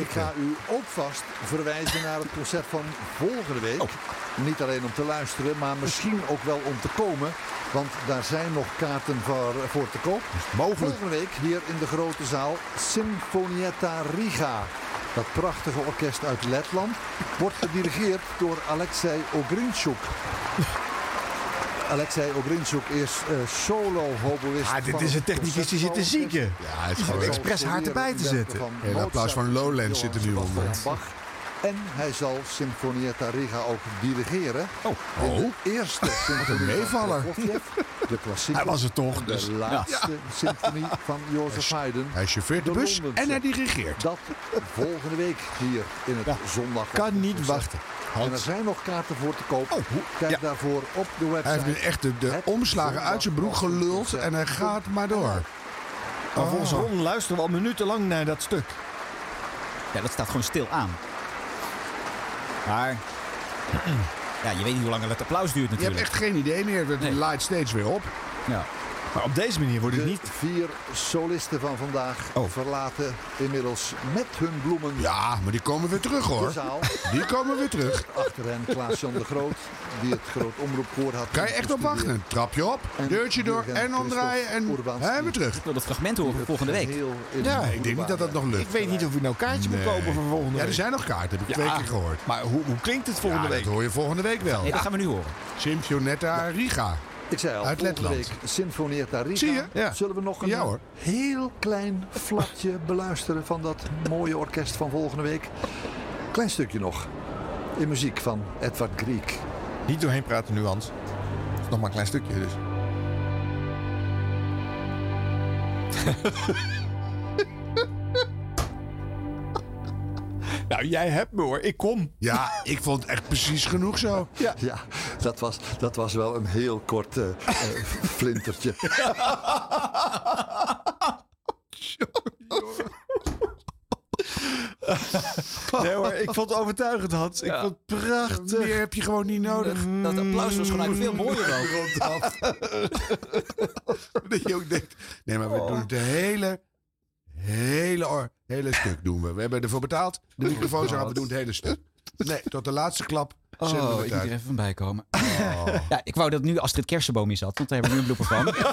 [SPEAKER 26] ik ga u ook vast verwijzen naar het concert van volgende week.
[SPEAKER 5] Oh.
[SPEAKER 26] Niet alleen om te luisteren, maar misschien ook wel om te komen. Want daar zijn nog kaarten voor, voor te koop. Volgende week hier in de grote zaal Sinfonietta Riga. Dat prachtige orkest uit Letland wordt gedirigeerd door Alexei Ogrinchuk. Alexei Ogrinchuk is eh, solo hoboïst.
[SPEAKER 5] Ah, dit
[SPEAKER 26] van
[SPEAKER 5] is een technicus die zit
[SPEAKER 26] concertgebouw.
[SPEAKER 5] te zieken. Ja,
[SPEAKER 4] hij is gewoon
[SPEAKER 26] expres haar erbij te zetten.
[SPEAKER 4] Een applaus van Lowland zit er nu onder.
[SPEAKER 26] En hij zal Sinfonietta Riga ook dirigeren. Oh,
[SPEAKER 4] Oh.
[SPEAKER 26] de eerste symfonie
[SPEAKER 4] meevaller.
[SPEAKER 26] van Prokofjev, De klassieke.
[SPEAKER 4] Hij was het toch,
[SPEAKER 26] en De
[SPEAKER 4] dus- ja.
[SPEAKER 26] laatste symfonie van Jozef Haydn.
[SPEAKER 4] Hij chauffeert de bus
[SPEAKER 26] Londense.
[SPEAKER 4] en hij dirigeert.
[SPEAKER 26] Dat volgende week hier in het zondag. Kan niet wachten. En er zijn nog kaarten voor te koop. Kijk daarvoor op de website.
[SPEAKER 4] Oh, Hij heeft nu echt de, de omslagen uit zijn broek geluld en hij gaat maar
[SPEAKER 3] Oh.
[SPEAKER 4] door.
[SPEAKER 5] Maar volgens Ron luisteren we al minutenlang naar dat stuk.
[SPEAKER 3] Ja, dat staat gewoon stil aan. Maar... Ja, je weet niet hoe lang het applaus duurt
[SPEAKER 4] Je hebt
[SPEAKER 3] natuurlijk.
[SPEAKER 4] echt geen idee meer. Het laait steeds weer op.
[SPEAKER 3] Ja.
[SPEAKER 5] Maar op deze manier wordt het
[SPEAKER 26] de
[SPEAKER 5] niet... Oh.
[SPEAKER 26] vier solisten van vandaag verlaten inmiddels met hun bloemen.
[SPEAKER 4] Ja, maar die komen weer terug hoor.
[SPEAKER 26] De zaal.
[SPEAKER 4] Die komen weer terug.
[SPEAKER 26] Achter hen Klaas-Jan de Groot, die het groot omroepkoor had.
[SPEAKER 4] Kan je echt op wachten? Trap je op, deurtje door en omdraaien en hè, weer terug. Ik
[SPEAKER 3] wil dat fragment horen volgende week.
[SPEAKER 4] Ja, ik denk niet dat dat nog lukt.
[SPEAKER 5] Ik weet niet of ik nou kaartjes moet
[SPEAKER 4] Nee.
[SPEAKER 5] kopen voor volgende week.
[SPEAKER 4] Ja, er zijn nog kaarten, heb ik twee
[SPEAKER 5] Ja,
[SPEAKER 4] keer gehoord.
[SPEAKER 5] Maar hoe, hoe klinkt het volgende
[SPEAKER 4] Ja,
[SPEAKER 5] week?
[SPEAKER 4] Dat hoor je volgende week wel.
[SPEAKER 26] Nee, dat gaan we
[SPEAKER 3] nu horen.
[SPEAKER 4] Sympionetta Riga.
[SPEAKER 26] Ik zei al,
[SPEAKER 4] Uit
[SPEAKER 26] volgende
[SPEAKER 4] Letland.
[SPEAKER 26] week Sinfoneert daar Riga.
[SPEAKER 4] Zie je? Ja.
[SPEAKER 26] Zullen we nog een
[SPEAKER 4] Ja, hoor.
[SPEAKER 26] heel klein flatje beluisteren van dat mooie orkest van volgende week? Klein stukje nog. In muziek van Edward Griek.
[SPEAKER 5] Niet doorheen praten nu, Hans. Nog maar een klein stukje dus.
[SPEAKER 4] Nou, jij hebt me hoor. Ik kom. Ja, ik vond het echt precies genoeg zo.
[SPEAKER 26] Ja, dat, was, dat was wel een heel kort eh, eh, flintertje.
[SPEAKER 5] Nee hoor, ik vond het overtuigend, Hans. Ik vond het prachtig.
[SPEAKER 4] Meer heb je gewoon niet nodig.
[SPEAKER 3] Dat applaus was gewoon eigenlijk veel mooier dan.
[SPEAKER 4] Dat je ook denkt, nee, maar we doen het hele, hele, or- hele stuk doen we. We hebben ervoor betaald, de microfoons aan, we doen het hele stuk. Nee, tot de laatste klap zetten
[SPEAKER 3] Oh,
[SPEAKER 4] we
[SPEAKER 3] ik
[SPEAKER 4] het
[SPEAKER 3] moet er
[SPEAKER 4] uit.
[SPEAKER 3] even van bijkomen.
[SPEAKER 5] Oh.
[SPEAKER 3] Ja, ik wou dat nu Astrid Kersenboom in zat, want daar hebben we nu een blooper van.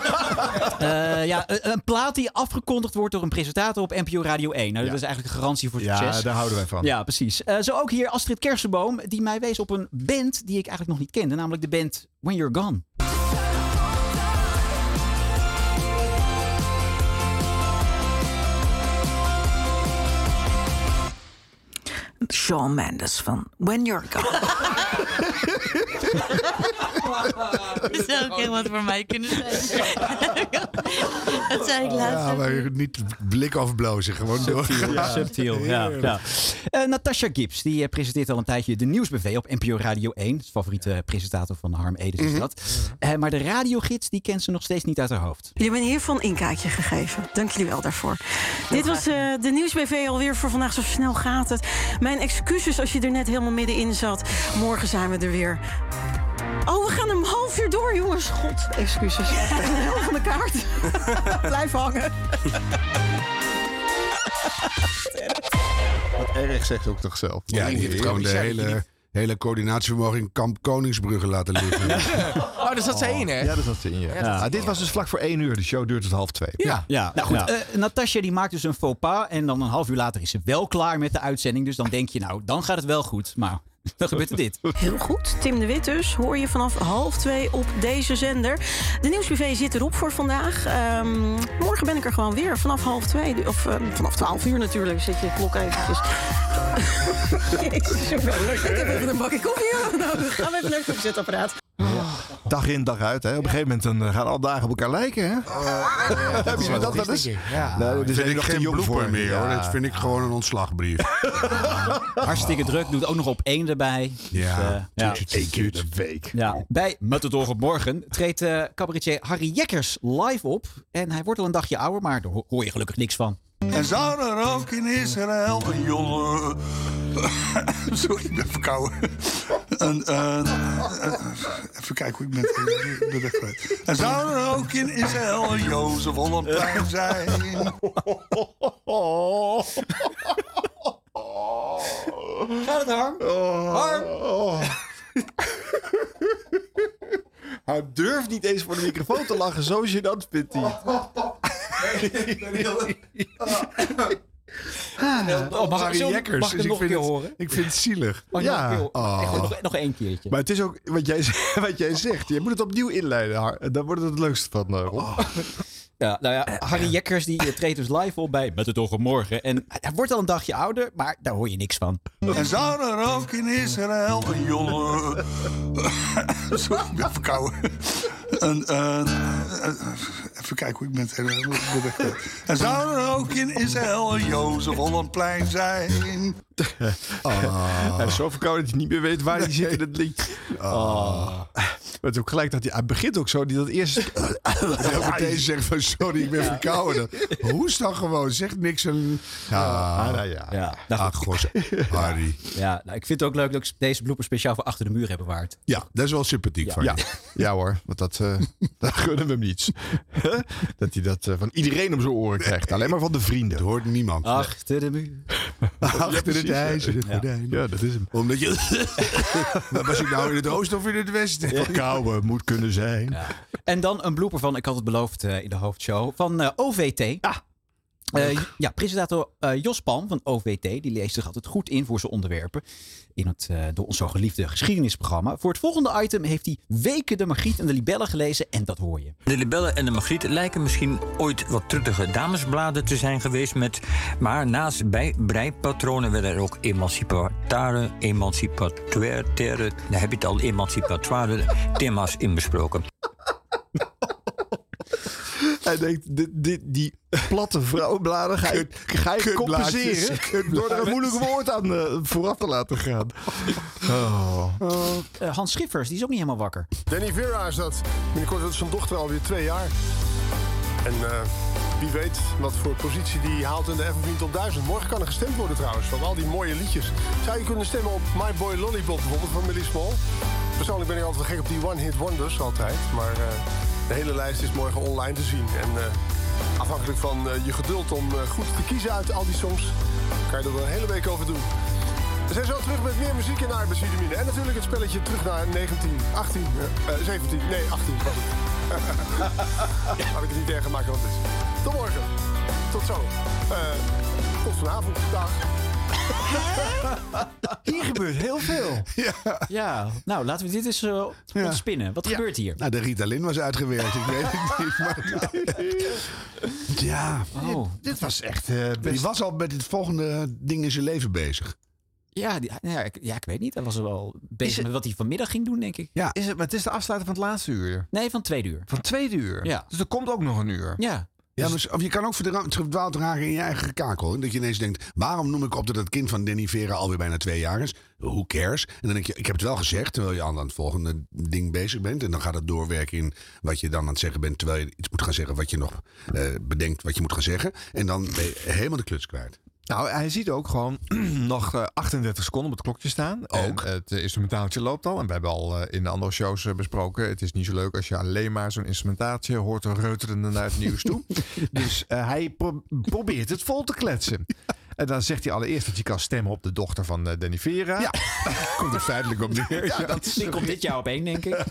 [SPEAKER 3] Eh, ja, een een plaat die afgekondigd wordt door een presentator op NPO Radio 1. Nou, dat is eigenlijk een garantie voor
[SPEAKER 5] Ja,
[SPEAKER 3] succes.
[SPEAKER 5] daar houden wij van.
[SPEAKER 3] Ja, precies. Eh, zo ook hier Astrid Kersenboom, die mij wees op een band die ik eigenlijk nog niet kende. Namelijk de band When You're Gone.
[SPEAKER 8] Shawn Mendes van When You're Gone.
[SPEAKER 14] Dat zou ook heel wat voor mij kunnen zijn. dat zei ik laatst.
[SPEAKER 4] Ja,
[SPEAKER 14] ook.
[SPEAKER 4] maar niet blik afblozen, gewoon door.
[SPEAKER 3] Ja, subtiel. Ja, ja. Eh, Natasha Gibbs, die eh, presenteert al een tijdje de Nieuwsbv op NPO Radio 1. Het favoriete eh, presentator van Harm Edens is
[SPEAKER 8] Mhm.
[SPEAKER 3] dat. Eh, maar de radiogids, die kent ze nog steeds niet uit haar hoofd.
[SPEAKER 14] Jullie hebben een hiervan inkijkje gegeven. Dank jullie wel daarvoor. Dit was eh, de nieuwsbv alweer voor vandaag. Zo snel gaat het. Mijn excuses als je er net helemaal middenin zat. Morgen zijn we er weer. Oh, we gaan een half uur door, jongens. God, excuses. Een helft van de kaart. Blijf hangen.
[SPEAKER 5] Wat erg zegt ook toch zelf.
[SPEAKER 4] Ja, die heeft gewoon de hele, hele coördinatievermogen in kamp Koningsbrugge laten liggen.
[SPEAKER 9] Oh, daar zat zij in, hè?
[SPEAKER 5] Ja, daar zat ze in, ja.
[SPEAKER 9] Ja, dat-
[SPEAKER 5] Ah, dit was dus vlak voor één uur. De show duurt tot half twee.
[SPEAKER 3] Ja, ja. Nou goed, eh, Natasja die maakt dus een faux pas. En dan een half uur later is ze wel klaar met de uitzending. Dus dan denk je, nou, dan gaat het wel goed. Maar dan gebeurt er dit.
[SPEAKER 14] Heel goed. Tim de Wit dus. Hoor je vanaf half twee op deze zender. De Nieuwsbv zit erop voor vandaag. Ehm, morgen ben ik er gewoon weer. Vanaf half twee. Of ehm, vanaf twaalf uur natuurlijk. Zet je klok eventjes. Jezus, jongen. ik heb even een bakje koffie nodig. Gaan we even naar het opzetapparaat.
[SPEAKER 5] Dag in, dag uit. Hè. Op een gegeven moment dan eh, gaan alle dagen op elkaar lijken. Hè? Eh, Heb je dat wel eens?
[SPEAKER 4] Ja.
[SPEAKER 5] Nou,
[SPEAKER 4] dat
[SPEAKER 5] dit
[SPEAKER 4] vind
[SPEAKER 5] is
[SPEAKER 4] ik
[SPEAKER 5] nog te
[SPEAKER 4] geen
[SPEAKER 5] jong
[SPEAKER 4] blooper
[SPEAKER 5] voor.
[SPEAKER 4] meer hoor.
[SPEAKER 5] Ja.
[SPEAKER 4] Dat vind ik gewoon een ontslagbrief.
[SPEAKER 3] Hartstikke druk. Doet ook nog op één erbij. Dus, eh,
[SPEAKER 4] Ja,
[SPEAKER 3] ja.
[SPEAKER 5] Eén keer de week.
[SPEAKER 3] Ja, bij Met het Oog op Morgen treedt eh cabaretier Harry Jekkers live op. En hij wordt al een dagje ouder, maar daar ho- hoor je gelukkig niks van.
[SPEAKER 29] En zou er ook in Israël een jongen. Sorry, ik ben verkouden. Een, eh, eh, even kijken hoe ik ben.
[SPEAKER 4] eh,
[SPEAKER 29] ik ben weg kwijt. En zou er ook in Israël een Jozef Hollandplein zijn?
[SPEAKER 3] Gaat het, Harm?
[SPEAKER 5] Harm? Oh. Hij durft niet eens voor de microfoon te lachen. Zo gênant vindt hij.
[SPEAKER 3] Oh, mag ik- zullen- mag ik hem nog een keer horen?
[SPEAKER 5] Dus Ik vind het zielig.
[SPEAKER 3] Mag ik nog een keer horen? Echt,
[SPEAKER 5] Oh.
[SPEAKER 3] nog- nog één keertje.
[SPEAKER 5] Maar het is ook wat jij, z- wat jij zegt. Je moet het opnieuw inleiden. Har. En Dan wordt het het leukste van. eh, Rob.
[SPEAKER 3] Oh. Ja, nou ja, Harry Jekkers die eh, treedt dus live op bij Met het Oog op Morgen. En hij wordt al een dagje ouder, maar daar hoor je niks van.
[SPEAKER 29] En zou er ook in Israël een jongen. Sorry, ik ben verkouden. Een, eh, eh, even kijken hoe ik eh, ben. Ik ben weg kwijt. En zou er ook in Israël een Jozef Hollandplein zijn?
[SPEAKER 5] Hij is zo verkouden dat hij niet meer weet waar hij zit in het liedje.
[SPEAKER 4] Ah.
[SPEAKER 5] Oh. Maar het is ook gelijk dat hij, hij begint ook zo, die dat eerste...
[SPEAKER 4] En ook meteen zegt van sorry, ik ben verkouden. Hoest dan gewoon, zegt niks. En... Ja,
[SPEAKER 3] Ah,
[SPEAKER 4] ja.
[SPEAKER 3] Ja, nou,
[SPEAKER 4] goed. Harry.
[SPEAKER 3] Ja, nou, ik vind het ook leuk dat ik deze blooper speciaal voor achter de muur heb bewaard.
[SPEAKER 4] Ja, dat is wel sympathiek van
[SPEAKER 3] Ja.
[SPEAKER 4] je.
[SPEAKER 5] Ja hoor, want dat, eh dat gunnen we hem niets. dat hij dat eh, van iedereen om zijn oren krijgt. Alleen maar van de vrienden. Dat
[SPEAKER 4] hoort niemand.
[SPEAKER 3] Achter de muur.
[SPEAKER 4] Achter het ijzeren gordijn.
[SPEAKER 5] Ja, dat is hem.
[SPEAKER 4] Omdat je... Maar was ik nou in het oosten of in het westen?
[SPEAKER 5] Verkouden moet kunnen zijn.
[SPEAKER 3] En dan een blooper van, ik had het beloofd eh, in de hoofdshow, van eh, OVT. Ja. ja, presentator eh, Jos Palm van OVT, die leest zich altijd goed in voor zijn onderwerpen in het eh, door ons zo geliefde geschiedenisprogramma. Voor het volgende item heeft hij weken de Margriet en de Libellen gelezen en dat hoor je.
[SPEAKER 25] De libellen en de magriet lijken misschien ooit wat truttige damesbladen te zijn geweest met... maar naast bij breipatronen werden er ook emancipatare, emancipatoire... daar heb je het al, emancipatoire thema's in besproken.
[SPEAKER 5] Hij denkt, dit, dit- die platte vrouwenbladen ga je, ga je
[SPEAKER 4] kutblaadjes,
[SPEAKER 5] compenseren... door er
[SPEAKER 4] kutblaadjes.
[SPEAKER 5] een moeilijk woord aan eh, vooraf te laten gaan. Oh.
[SPEAKER 3] Eh, Hans Schiffers, die is ook niet helemaal wakker.
[SPEAKER 18] Danny Vera is dat. Binnenkort wordt zijn dochter alweer twee jaar. En eh, wie weet wat voor positie die haalt in de F tot 1000. Morgen kan er gestemd worden trouwens, van al die mooie liedjes. Zou je kunnen stemmen op My Boy Lollipop bijvoorbeeld van Millie Small? Persoonlijk ben ik altijd wel gek op die One Hit Wonders altijd. Maar eh, de hele lijst is morgen online te zien. En eh, afhankelijk van eh, je geduld om eh, goed te kiezen uit al die songs... kan je er wel een hele week over doen. We zijn zo terug met meer muziek in arbeidsvitamine. En natuurlijk het spelletje terug naar 19, 18, eh, eh, 17, nee 18 was het. Laat ik het niet erger maken dan het is. Tot morgen. Tot zo. Eh, tot vanavond. Dag.
[SPEAKER 5] Hier gebeurt heel veel.
[SPEAKER 3] Ja. nou laten we dit eens eh, ontspinnen. Wat gebeurt hier?
[SPEAKER 4] Nou, de Ritalin was uitgewerkt. Ik weet het niet, maar... Ja,
[SPEAKER 3] Oh.
[SPEAKER 4] dit, dit was echt... eh, Die was al met het volgende ding in zijn leven bezig.
[SPEAKER 3] Ja, die- ja, ik, ja, ik weet niet. Hij was wel bezig met wat hij vanmiddag ging doen, denk ik.
[SPEAKER 5] Ja. Is het, maar het is de afsluiting van het laatste uur.
[SPEAKER 3] Nee, van tweede uur.
[SPEAKER 5] Van tweede uur?
[SPEAKER 3] Ja.
[SPEAKER 5] Dus er komt ook nog een uur.
[SPEAKER 3] Ja.
[SPEAKER 4] Ja, maar of je kan ook verdra- verdwaald raken in je eigen kakel. hè? Dat je ineens denkt, waarom noem ik op dat het kind van Denny Vera alweer bijna twee jaar is? Who cares? En dan denk je, ik heb het wel gezegd, terwijl je aan het volgende ding bezig bent. En dan gaat het doorwerken in wat je dan aan het zeggen bent, terwijl je iets moet gaan zeggen wat je nog eh, bedenkt wat je moet gaan zeggen. En dan ben je helemaal de kluts kwijt.
[SPEAKER 5] Nou, hij ziet ook gewoon nog eh, 38 seconden op het klokje staan. Ook. het eh, instrumentaaltje loopt al. En we hebben al eh, in de andere shows eh, besproken. Het is niet zo leuk als je alleen maar zo'n instrumentaaltje hoort reuterende naar het nieuws toe. dus eh, hij pro- probeert het vol te kletsen. En dan zegt hij allereerst dat je kan stemmen op de dochter van eh Danny Vera. Ja. Komt er feitelijk op neer.
[SPEAKER 3] Ja, die komt dit jaar op één, denk ik.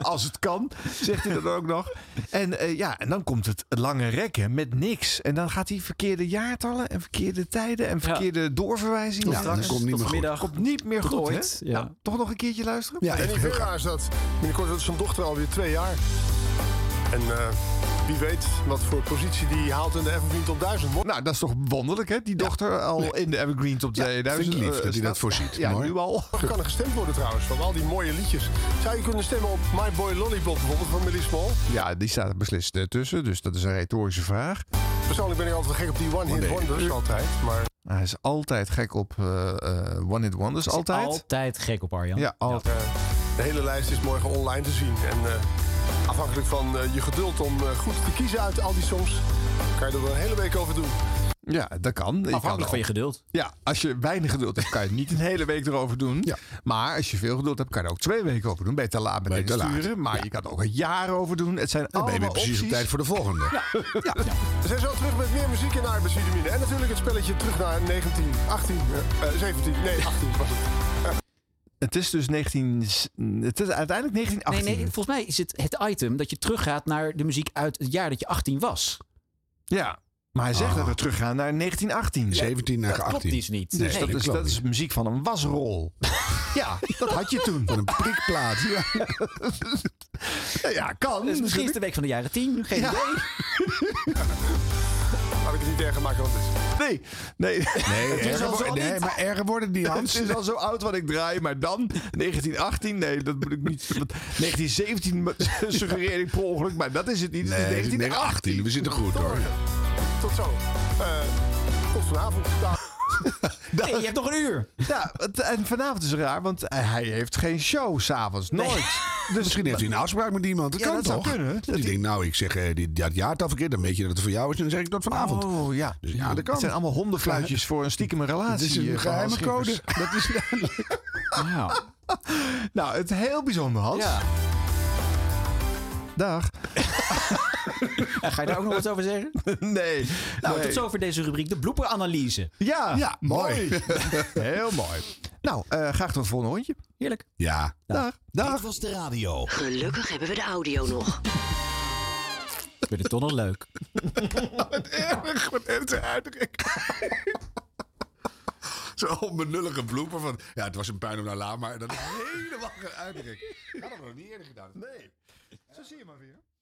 [SPEAKER 5] Als het kan, zegt hij dat ook nog. En eh, ja, en dan komt het lange rekken met niks. En dan gaat hij verkeerde jaartallen en verkeerde tijden en verkeerde doorverwijzingen.
[SPEAKER 4] Tot Ja, straks, dat komt niet tot meer goed. vanmiddag.
[SPEAKER 5] Komt niet meer
[SPEAKER 4] Tot
[SPEAKER 5] goed,
[SPEAKER 4] ooit,
[SPEAKER 5] hè?
[SPEAKER 4] ja.
[SPEAKER 5] Nou, toch nog een keertje luisteren?
[SPEAKER 18] Danny Vera is dat. Binnenkort wordt zijn dochter alweer twee jaar. En eh, wie weet wat voor positie die haalt in de F tot 1000.
[SPEAKER 5] Nou, dat is toch wonderlijk, hè? Die dochter al in de Evergreen Top 2000.
[SPEAKER 4] vind ik lief
[SPEAKER 5] eh,
[SPEAKER 4] dat hij dat
[SPEAKER 5] staat.
[SPEAKER 4] voorziet.
[SPEAKER 5] Ja,
[SPEAKER 4] Mooi.
[SPEAKER 5] nu al.
[SPEAKER 18] Er kan er gestemd worden trouwens, van al die mooie liedjes. Zou je kunnen stemmen op My Boy Lollipop bijvoorbeeld van Millie Small?
[SPEAKER 5] Ja, die staat er beslist eh, tussen, dus dat is een retorische vraag.
[SPEAKER 18] Persoonlijk ben ik altijd wel gek op die
[SPEAKER 5] Oh,
[SPEAKER 18] One Hit Wonders altijd, maar...
[SPEAKER 5] Hij is altijd gek op eh, eh, One Hit Wonders,
[SPEAKER 18] Is
[SPEAKER 5] altijd.
[SPEAKER 3] Altijd gek op Arjan.
[SPEAKER 5] Ja, altijd.
[SPEAKER 18] Eh, de hele lijst is morgen online te zien. En eh, afhankelijk van eh, je geduld om eh, goed te kiezen uit al die songs... kan je er wel een hele week over doen.
[SPEAKER 5] Ja, dat kan.
[SPEAKER 18] Afhankelijk van je
[SPEAKER 3] geduld.
[SPEAKER 5] Ja, als je weinig geduld hebt, kan je het niet een hele week erover doen. Maar als je veel geduld hebt, kan je er ook twee weken over doen. Beter laat meteen
[SPEAKER 4] Beter laat.
[SPEAKER 5] sturen. Maar je kan er ook een jaar over doen. Het zijn
[SPEAKER 4] Dan ben je
[SPEAKER 5] allemaal
[SPEAKER 4] weer precies op
[SPEAKER 5] opties.
[SPEAKER 4] tijd voor de volgende.
[SPEAKER 18] We zijn zo terug met meer muziek in arbeidsvitamine. En natuurlijk het spelletje terug naar 19, 18, eh, eh, 17, nee 18 was het.
[SPEAKER 5] Het is dus 19... Het is uiteindelijk 1918.
[SPEAKER 3] Nee, nee, volgens mij is het het item dat je teruggaat naar de muziek uit het jaar dat je 18 was.
[SPEAKER 5] Ja, Ah. maar hij zegt dat we teruggaan naar 1918.
[SPEAKER 4] 17 naar 18.
[SPEAKER 3] klopt dus niet.
[SPEAKER 5] Dus
[SPEAKER 3] Nee,
[SPEAKER 5] dat,
[SPEAKER 3] dat
[SPEAKER 5] is,
[SPEAKER 3] klopt
[SPEAKER 5] dat is muziek van een wasrol. ja, dat had je toen. Van
[SPEAKER 4] een prikplaat. Ja,
[SPEAKER 5] ja kan.
[SPEAKER 3] Dus misschien is de week van de jaren 10. Geen idee.
[SPEAKER 18] Laat ik het niet erger maken dan het is.
[SPEAKER 5] Nee, nee.
[SPEAKER 4] Nee,
[SPEAKER 5] Het is
[SPEAKER 4] erger
[SPEAKER 5] al
[SPEAKER 4] wo-
[SPEAKER 5] zo
[SPEAKER 4] nee,
[SPEAKER 5] niet.
[SPEAKER 4] maar erger wordt het niet, Hans.
[SPEAKER 5] Het is al zo oud wat ik draai, maar dan 1918, nee, dat moet ik niet. want 1917 me- suggereer ik per ongeluk, maar dat is het niet.
[SPEAKER 4] Nee,
[SPEAKER 5] het is 1918.
[SPEAKER 4] we zitten goed hoor.
[SPEAKER 18] Tot zo. Eh, tot vanavond. Dag.
[SPEAKER 3] Nee, je hebt nog een uur.
[SPEAKER 5] Ja, het- en vanavond is het raar, want hij heeft geen show s'avonds. Nooit. Dus
[SPEAKER 4] Misschien heeft hij een afspraak met iemand. Dat
[SPEAKER 5] Ja,
[SPEAKER 4] kan
[SPEAKER 5] dat zou
[SPEAKER 4] toch?
[SPEAKER 5] kunnen.
[SPEAKER 4] Dat ik denk, nou, ik zeg eh, die, dat jaartal verkeerd. Dan weet je dat het voor jou is. En dan zeg ik dat vanavond.
[SPEAKER 5] Oh ja.
[SPEAKER 4] Dus ja, dat kan.
[SPEAKER 5] Het zijn allemaal hondenfluitjes voor een stiekeme relatie.
[SPEAKER 4] Dit is een
[SPEAKER 5] eh, van
[SPEAKER 4] geheime
[SPEAKER 5] Hans
[SPEAKER 4] code.
[SPEAKER 5] Schippers. Dat is duidelijk. Nou, het heel bijzonder, Hans. Dag.
[SPEAKER 3] En ga je daar ook nog wat over zeggen?
[SPEAKER 5] Nee.
[SPEAKER 3] Nou,
[SPEAKER 5] nee.
[SPEAKER 3] tot zover deze rubriek. De blooperanalyse.
[SPEAKER 5] Ja, heel mooi. Nou, eh, graag tot het volgende rondje.
[SPEAKER 3] Heerlijk.
[SPEAKER 4] Ja.
[SPEAKER 5] Dag.
[SPEAKER 4] Dag.
[SPEAKER 7] was de radio. Gelukkig hebben we de audio nog.
[SPEAKER 3] Ik vind het toch nog leuk.
[SPEAKER 4] Wat erg, wat erg zijn uitdrukking. Zo'n benullige bloeper van... Ja, het was een puin om naar la, maar dat is helemaal geen uitdrukking. Ik had dat nog niet eerder gedaan. Nee.
[SPEAKER 5] Zo zie je maar weer.